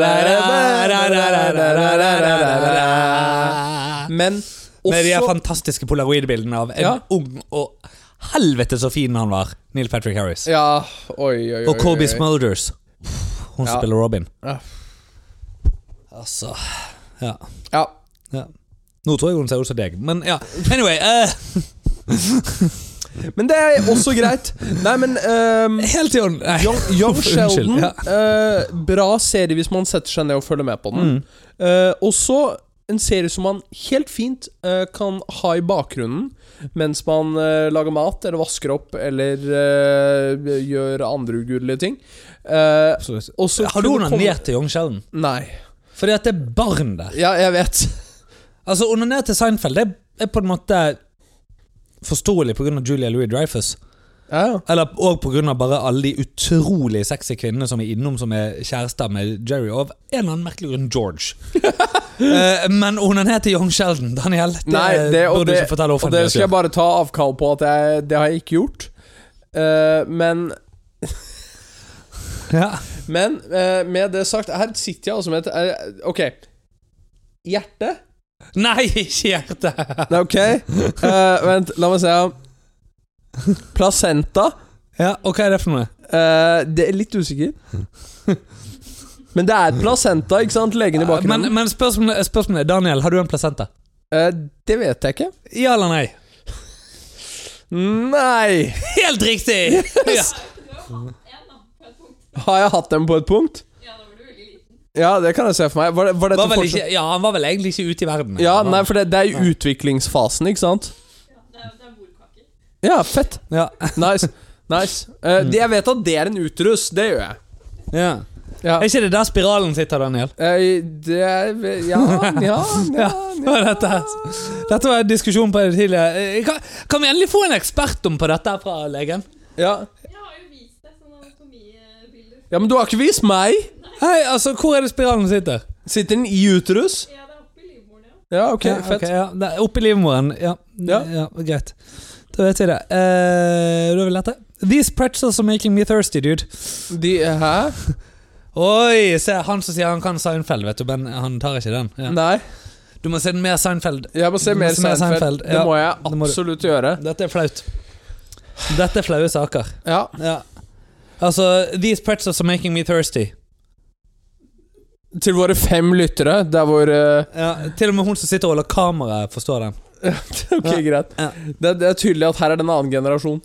[SPEAKER 1] da, da, da, da, da, da, da, da, da.
[SPEAKER 2] Men også
[SPEAKER 1] Med de her fantastiske polaroidbildene av en
[SPEAKER 2] Ja.
[SPEAKER 1] ung og helvete så fin han var, Neil Patrick Harris.
[SPEAKER 2] Ja, oi, oi, oi.
[SPEAKER 1] Og Colby
[SPEAKER 2] oi.
[SPEAKER 1] Smulders. Hun
[SPEAKER 2] Ja.
[SPEAKER 1] spiller Robin.
[SPEAKER 2] Ja.
[SPEAKER 1] Altså Ja.
[SPEAKER 2] Ja.
[SPEAKER 1] ja. Nå tror jeg hun ser ut som deg, men ja. Anyway. eh,
[SPEAKER 2] Men det er også greit. Nei, men ehm,
[SPEAKER 1] helt i orden. Nei.
[SPEAKER 2] Young, Young
[SPEAKER 1] Unnskyld,
[SPEAKER 2] Sheldon
[SPEAKER 1] ja. Mm.
[SPEAKER 2] eh, Bra serie hvis man setter seg ned og følger med på den. Eh, og så en serie som man helt fint eh, kan ha i bakgrunnen mens man eh, lager mat, eller vasker opp, eller eh, gjør andre ugudelige ting. Eh,
[SPEAKER 1] Absolutt.
[SPEAKER 2] og så
[SPEAKER 1] Har du
[SPEAKER 2] kunne komme-
[SPEAKER 1] onanert til Young Sheldon?
[SPEAKER 2] Nei.
[SPEAKER 1] Fordi at det er barn der.
[SPEAKER 2] Ja, jeg vet.
[SPEAKER 1] Altså, onanert til Seinfeld det er på en måte forståelig pga. Julia Louis Dreyfus.
[SPEAKER 2] Ja, ja.
[SPEAKER 1] Eller òg pga. bare alle de utrolig sexy kvinnene som er innom som er kjærester med Jerry og av en eller annen merkelig grunn George. Eh, men onanert til Young Sheldon, Daniel, det,
[SPEAKER 2] Nei, det, og,
[SPEAKER 1] bør du
[SPEAKER 2] det,
[SPEAKER 1] ikke fortelle
[SPEAKER 2] og det skal jeg
[SPEAKER 1] offentlig.
[SPEAKER 2] bare ta avkall på at jeg, det har jeg ikke gjort. Eh, men
[SPEAKER 1] Ja.
[SPEAKER 2] men eh, med det sagt, her sitter jeg altså med et eh, Ok. Hjerte?
[SPEAKER 1] Nei, ikke hjertet!
[SPEAKER 2] Nei, ok. Eh, vent, la meg se. Placenta?
[SPEAKER 1] Ja, og hva er det for noe?
[SPEAKER 2] Eh, det er litt usikker. Men det er et placenta, ikke sant? Legen i
[SPEAKER 1] Men,
[SPEAKER 2] bakgrunnen.
[SPEAKER 1] men spørsmålet, spørsmålet er, Daniel, har du en placenta?
[SPEAKER 2] Eh, det vet jeg ikke.
[SPEAKER 1] Ja eller nei?
[SPEAKER 2] Nei!
[SPEAKER 1] Helt riktig! Ja.
[SPEAKER 4] Du har hatt en da, på et punkt.
[SPEAKER 2] Har jeg hatt dem på et punkt?
[SPEAKER 4] Ja, da var du veldig liten.
[SPEAKER 2] Ja, det kan jeg se for meg. Var, det, var dette
[SPEAKER 1] Var vel
[SPEAKER 2] fortsatt-
[SPEAKER 1] ikke, ja, han var vel egentlig ikke ute i verden.
[SPEAKER 2] Ja, nei, for det, det er i utviklingsfasen, ikke sant?
[SPEAKER 4] Ja, det er, det er morkake.
[SPEAKER 2] Ja, fett.
[SPEAKER 1] Ja.
[SPEAKER 2] Nice. nice. Eh, det- jeg vet at det er en uterus, det gjør jeg.
[SPEAKER 1] Ja.
[SPEAKER 2] Ja.
[SPEAKER 1] Er ikke det der spiralen sitter, Daniel?
[SPEAKER 2] Eh, det er Ja, ja, ja.
[SPEAKER 1] Hva er dette? her? Dette var en diskusjon på det tidligere. Eh, Kan, kan vi endelig få en ekspert om på dette her fra legen?
[SPEAKER 2] ja.
[SPEAKER 4] Jeg har jo vist deg sånne anatomibilder.
[SPEAKER 2] ja men du har ikke vist meg!
[SPEAKER 1] Hei, altså, hvor er det spiralen sitter?
[SPEAKER 2] Sitter den i uterus?
[SPEAKER 4] Ja, det er oppe i livmoren, ja.
[SPEAKER 2] Ja, ok,
[SPEAKER 1] Ja,
[SPEAKER 2] fett.
[SPEAKER 1] ok, ja. Det er Oppi livmoren. Ja.
[SPEAKER 2] Ja.
[SPEAKER 1] ja, greit. Da vet vi det. Eh, da vil dette. These pretzels are making me thirsty, dude.
[SPEAKER 2] De Hæ?
[SPEAKER 1] Oi, se han som sier han kan Seinfeld, vet du, men han tar ikke den. Ja.
[SPEAKER 2] Nei.
[SPEAKER 1] Du må se den mer Seinfeld.
[SPEAKER 2] Jeg må se
[SPEAKER 1] Du må
[SPEAKER 2] mer
[SPEAKER 1] se mer Seinfeld,
[SPEAKER 2] Seinfeld. Det
[SPEAKER 1] ja.
[SPEAKER 2] må jeg
[SPEAKER 1] Det må du.
[SPEAKER 2] absolutt gjøre.
[SPEAKER 1] Dette er flaut. Dette er flaue saker.
[SPEAKER 2] Ja.
[SPEAKER 1] Ja. Altså, these pretzels are making me thirsty.
[SPEAKER 2] Til våre fem lyttere, der hvor eh,
[SPEAKER 1] Ja, til og med hun som sitter og holder kameraet, forstår den.
[SPEAKER 2] Ok, greit.
[SPEAKER 1] Ja.
[SPEAKER 2] Det, det er tydelig at her er det en annen generasjon.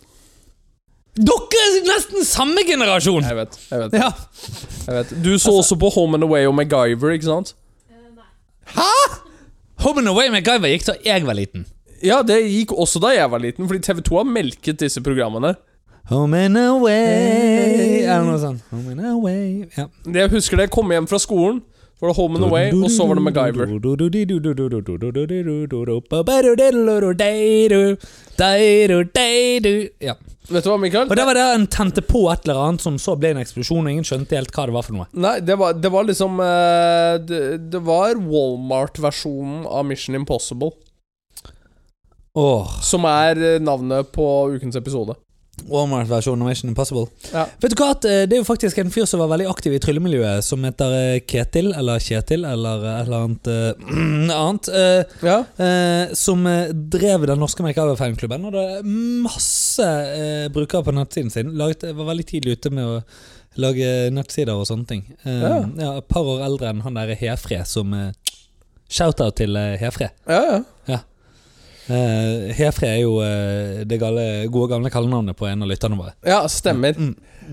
[SPEAKER 1] Dere er nesten samme generasjon!
[SPEAKER 2] Jeg vet. jeg vet.
[SPEAKER 1] Ja. Altså-
[SPEAKER 2] Jeg vet. Du så også på Home and Away og MacGyver, ikke sant?
[SPEAKER 4] Eh, nei.
[SPEAKER 1] Home and Away MacGyver gikk da jeg var liten.
[SPEAKER 2] Ja, det gikk også da jeg var liten, fordi TV2 har melket disse programmene.
[SPEAKER 1] Home and Away Eller noe sånt. Home and Away ja.
[SPEAKER 2] Jeg husker det, jeg kom hjem fra skolen, var det Home and Away, og så var det MacGyver.
[SPEAKER 1] Ja.
[SPEAKER 2] Vet du hva, Mikael?
[SPEAKER 1] Og der var det en tente på et eller annet som så ble en eksplosjon, og ingen skjønte helt hva det var for noe.
[SPEAKER 2] Nei, det var, det var liksom eh, Det, det var Walmart-versjonen av Mission Impossible,
[SPEAKER 1] Åh,
[SPEAKER 2] som er eh, navnet på ukens episode.
[SPEAKER 1] Walmart-versjonen av Mission Impossible.
[SPEAKER 2] Ja.
[SPEAKER 1] Vet du hva, at, eh, Det er jo faktisk en fyr som var veldig aktiv i tryllemiljøet, som heter eh, Ketil, eller Kjetil, eller eh, et eller annet eh, annet. eh,
[SPEAKER 2] Ja,
[SPEAKER 1] eh, som eh, drev den norske Makeover-fanklubben. Og det er masse eh, brukere på nettsiden sin. Laget, var veldig tidlig ute med å lage nettsider og sånne ting. Eh, ja.
[SPEAKER 2] Ja.
[SPEAKER 1] Et par år eldre enn han der Hefre, som eh, Shout-out til eh, Hefre.
[SPEAKER 2] ja, ja.
[SPEAKER 1] Eh, Hefre er jo eh, det gale, gode gamle kallenavnet på en av lytterne våre.
[SPEAKER 2] ja stemmer.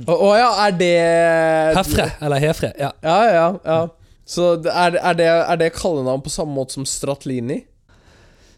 [SPEAKER 2] Å å ja, er det
[SPEAKER 1] Hefre, eller Hefre. ja
[SPEAKER 2] Ja, ja, ja. Så det- er, er det, er det kallenavn på samme måte som Stratlini?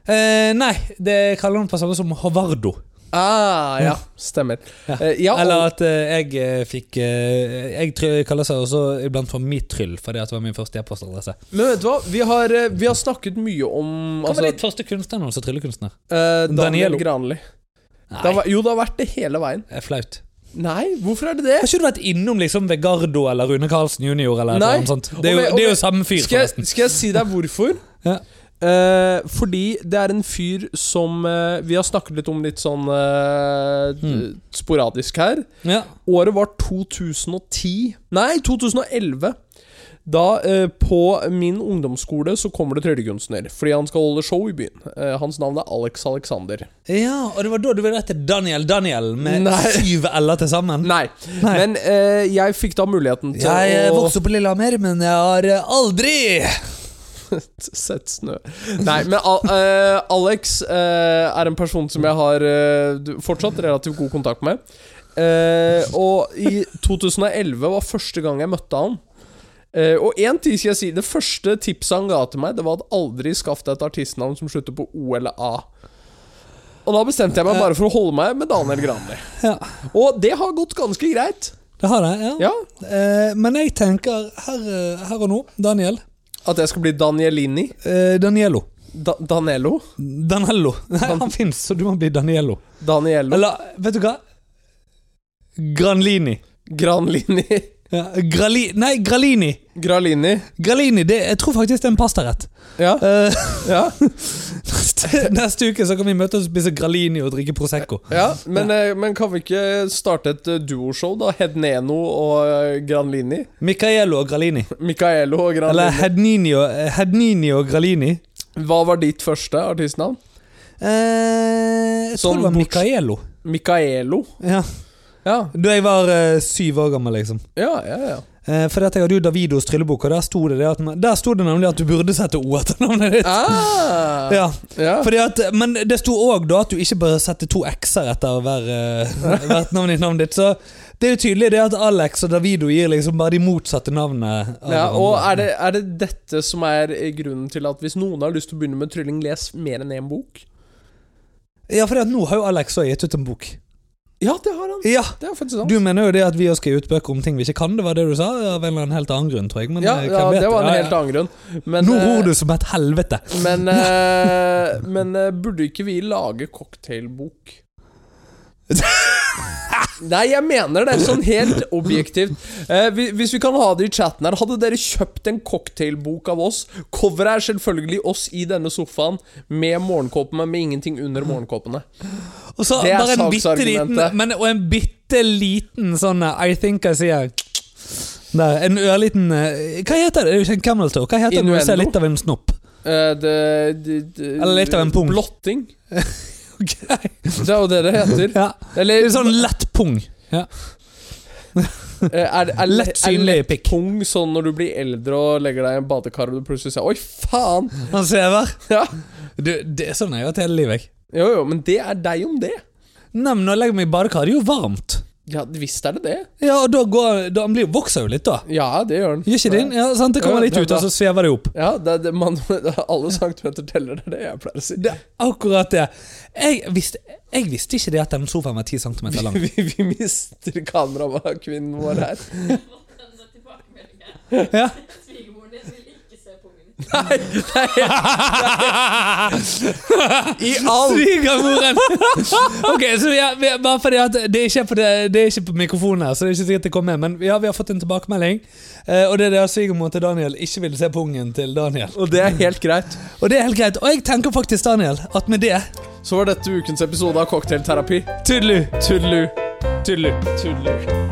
[SPEAKER 1] Eh, nei, det kaller hun på samme som Havardo.
[SPEAKER 2] Ah, ja. Stemmer.
[SPEAKER 1] Ja.
[SPEAKER 2] Eh, ja, og-
[SPEAKER 1] Eller at eh, jeg eh, fikk eh, Jeg try- kaller seg også iblant for Mitryll, fordi at det var min første e-postadresse.
[SPEAKER 2] Men vet du hva? Vi har, eh, vi har snakket mye om
[SPEAKER 1] Hva var
[SPEAKER 2] altså,
[SPEAKER 1] ditt første kunstnernavn som tryllekunstner?
[SPEAKER 2] eh, Daniel
[SPEAKER 1] Daniello?
[SPEAKER 2] Granli.
[SPEAKER 1] Nei,
[SPEAKER 2] Det har, væ- jo, det har vært det hele veien.
[SPEAKER 1] det er flaut.
[SPEAKER 2] Nei, hvorfor er det det?
[SPEAKER 1] Har ikke du vært innom liksom Vegardo eller Rune Karlsen jr.? Eller
[SPEAKER 2] Nei.
[SPEAKER 1] noe sånt? Det er
[SPEAKER 2] Og
[SPEAKER 1] jo,
[SPEAKER 2] vi- og
[SPEAKER 1] det er
[SPEAKER 2] vi-
[SPEAKER 1] jo samme fyr,
[SPEAKER 2] Skal
[SPEAKER 1] forresten.
[SPEAKER 2] jeg, skal jeg si deg hvorfor?
[SPEAKER 1] Ja.
[SPEAKER 2] Eh, fordi det er en fyr som eh, Vi har snakket litt om litt sånn eh,
[SPEAKER 1] Mm.
[SPEAKER 2] sporadisk her.
[SPEAKER 1] Ja.
[SPEAKER 2] Året var 2010 Nei, 2011 Da eh, på min ungdomsskole Så kommer det tryllekunstner Fordi han skal holde show i byen eh, Hans navn er Alex Alexander
[SPEAKER 1] ja, og det var da du ville hete Daniel Daniel med
[SPEAKER 2] Nei.
[SPEAKER 1] syv l-er til sammen?
[SPEAKER 2] Nei,
[SPEAKER 1] Nei.
[SPEAKER 2] men eh, jeg fikk da muligheten til
[SPEAKER 1] Jeg eh,
[SPEAKER 2] å
[SPEAKER 1] vokste opp på Lillehammer, men jeg har eh, aldri
[SPEAKER 2] Sett snø Nei, men Al eh, Alex eh, er en person som jeg har eh, du- Fortsatt relativt god kontakt med Eh, Og i 2011 var første gang jeg møtte han Eh, og én ting skal jeg si. Det første tipset han ga til meg, det var at aldri skaff deg et artistnavn som slutter på O eller A. Og da bestemte jeg meg bare for å holde meg med Daniel Granli.
[SPEAKER 1] Ja.
[SPEAKER 2] Og det har gått ganske greit.
[SPEAKER 1] Det har det, ja.
[SPEAKER 2] Ja,
[SPEAKER 1] Eh, men jeg tenker her, eh, her og nå, Daniel.
[SPEAKER 2] At jeg skal bli Danielini.
[SPEAKER 1] Eh, Daniello.
[SPEAKER 2] Da Danelo.
[SPEAKER 1] Danello. Nei, han fins, så du må bli Daniello.
[SPEAKER 2] Daniello.
[SPEAKER 1] Eller, vet du hva? Granlini.
[SPEAKER 2] Granlini.
[SPEAKER 1] Ja, Grali... Nei, Gralini.
[SPEAKER 2] Gralini.
[SPEAKER 1] Gralini, det, jeg tror faktisk det er en pastarett.
[SPEAKER 2] Ja.
[SPEAKER 1] Eh,
[SPEAKER 2] ja.
[SPEAKER 1] neste, neste uke så kan vi møtes og spise Gralini og drikke Prosecco.
[SPEAKER 2] Ja, men, eh, men kan vi ikke starte et eh, duoshow, da? Hedneno og eh, Granlini?
[SPEAKER 1] Micaello og Gralini.
[SPEAKER 2] Micaelo og
[SPEAKER 1] Eller
[SPEAKER 2] Granlini.
[SPEAKER 1] Hednini og, eh, Hednini og Gralini.
[SPEAKER 2] Hva var ditt første artistnavn?
[SPEAKER 1] Eh, jeg tror
[SPEAKER 2] Sånn
[SPEAKER 1] det var
[SPEAKER 2] bort-
[SPEAKER 1] Micaello.
[SPEAKER 2] Micaelo.
[SPEAKER 1] Ja.
[SPEAKER 2] Ja,
[SPEAKER 1] Da jeg var eh, syv år gammel, liksom.
[SPEAKER 2] ja, ja. ja.
[SPEAKER 1] Eh, for dette, Jeg hadde jo Davidos tryllebok, og der sto det, det at, der sto det nemlig at du burde sette O etter navnet ditt.
[SPEAKER 2] Ah,
[SPEAKER 1] Ja.
[SPEAKER 2] ja.
[SPEAKER 1] Fordi at, men det sto òg at du ikke bør sette to x-er etter hver, eh, hvert navn i navnet ditt. Så det er jo tydelig det at Alex og Davido gir liksom bare de motsatte navnene. av
[SPEAKER 2] Ja, og
[SPEAKER 1] hverandre.
[SPEAKER 2] er det, er det dette som er eh, grunnen til at hvis noen har lyst til å begynne med trylling, les mer enn én bok?
[SPEAKER 1] ja, fordi at nå har jo Alex òg gitt ut en bok.
[SPEAKER 2] Ja, det har han.
[SPEAKER 1] Ja,
[SPEAKER 2] Det er faktisk sant.
[SPEAKER 1] Du mener jo det at vi også skal gi ut bøker om ting vi ikke kan, det var det du sa? Av en eller annen helt annen grunn, tror jeg. Men
[SPEAKER 2] ja,
[SPEAKER 1] eh, hvem
[SPEAKER 2] ja,
[SPEAKER 1] vet?
[SPEAKER 2] det var en
[SPEAKER 1] Ja, ja.
[SPEAKER 2] helt annen grunn. Men,
[SPEAKER 1] Nå
[SPEAKER 2] eh,
[SPEAKER 1] ror du som et helvete.
[SPEAKER 2] men, eh, men eh, burde ikke vi lage cocktailbok? Nei, jeg mener det, sånn helt objektivt. Eh, vi- hvis vi kan ha det i chatten her, hadde dere kjøpt en cocktailbok av oss? Coveret er selvfølgelig oss i denne sofaen med morgenkåpene, med ingenting under morgenkåpene.
[SPEAKER 1] Og så
[SPEAKER 2] Det er
[SPEAKER 1] bare en bitte liten
[SPEAKER 2] saksargumentet.
[SPEAKER 1] men, Og en bitte liten sånn eh, I think I see a Der, En ørliten eh, Hva heter det? Det er jo ikke en camel toe. Hva heter det når du ser
[SPEAKER 2] Innuendo?
[SPEAKER 1] litt av en snopp?
[SPEAKER 2] Eh, det, det, det
[SPEAKER 1] Eller litt av en pung.
[SPEAKER 2] Blotting.
[SPEAKER 1] Ok.
[SPEAKER 2] Det er jo det det heter.
[SPEAKER 1] Ja.
[SPEAKER 2] Eller
[SPEAKER 1] En sånn lett pung.
[SPEAKER 2] eh, er, er,
[SPEAKER 1] Lett synlig
[SPEAKER 2] er
[SPEAKER 1] pikk.
[SPEAKER 2] Pung sånn når du blir eldre og legger deg i en badekar og du plutselig sier 'oi, faen'.
[SPEAKER 1] Han svever.
[SPEAKER 2] Ja.
[SPEAKER 1] Du, det er sånn jeg har hatt hele livet. jeg.
[SPEAKER 2] Jo, jo, men det er deg om det.
[SPEAKER 1] Nei, men når jeg legger meg i badekar, det er jo varmt.
[SPEAKER 2] Ja, visst er det det.
[SPEAKER 1] Ja, og da går da, Han blir, vokser jo litt, da.
[SPEAKER 2] Ja, det gjør den.
[SPEAKER 1] Gjør ikke din? Ja, sant? Det
[SPEAKER 2] Ja,
[SPEAKER 1] kommer litt
[SPEAKER 2] det er
[SPEAKER 1] ut, og så svever det opp.
[SPEAKER 2] Ja, det, er det, man, alle centimeter teller, det er det jeg pleier å si.
[SPEAKER 1] Det er akkurat det. Jeg visste, jeg visste ikke det at den sofaen var 10 cm lang.
[SPEAKER 2] Vi, vi mister kamerakvinnen vår her.
[SPEAKER 4] Jeg måtte sende tilbakemelding her.
[SPEAKER 1] Ja.
[SPEAKER 4] Svigermoren din vil ikke se pungen din.
[SPEAKER 2] Nei, nei, i all
[SPEAKER 1] Svigermoren! Ok, så vi er, vi er, bare fordi at det er, ikke på det, det er ikke på mikrofonen her, så det er ikke sikkert det kommer med. Men ja, vi har fått en tilbakemelding, eh, og det er det at svigermoren til Daniel ikke ville se pungen til Daniel.
[SPEAKER 2] Og det er helt greit.
[SPEAKER 1] Og det er helt greit. Og jeg tenker faktisk, Daniel, at med det
[SPEAKER 2] Så var dette ukens episode av Cocktailterapi.
[SPEAKER 1] Tudelu!
[SPEAKER 2] Tudelu. Tudelu. Tudelu.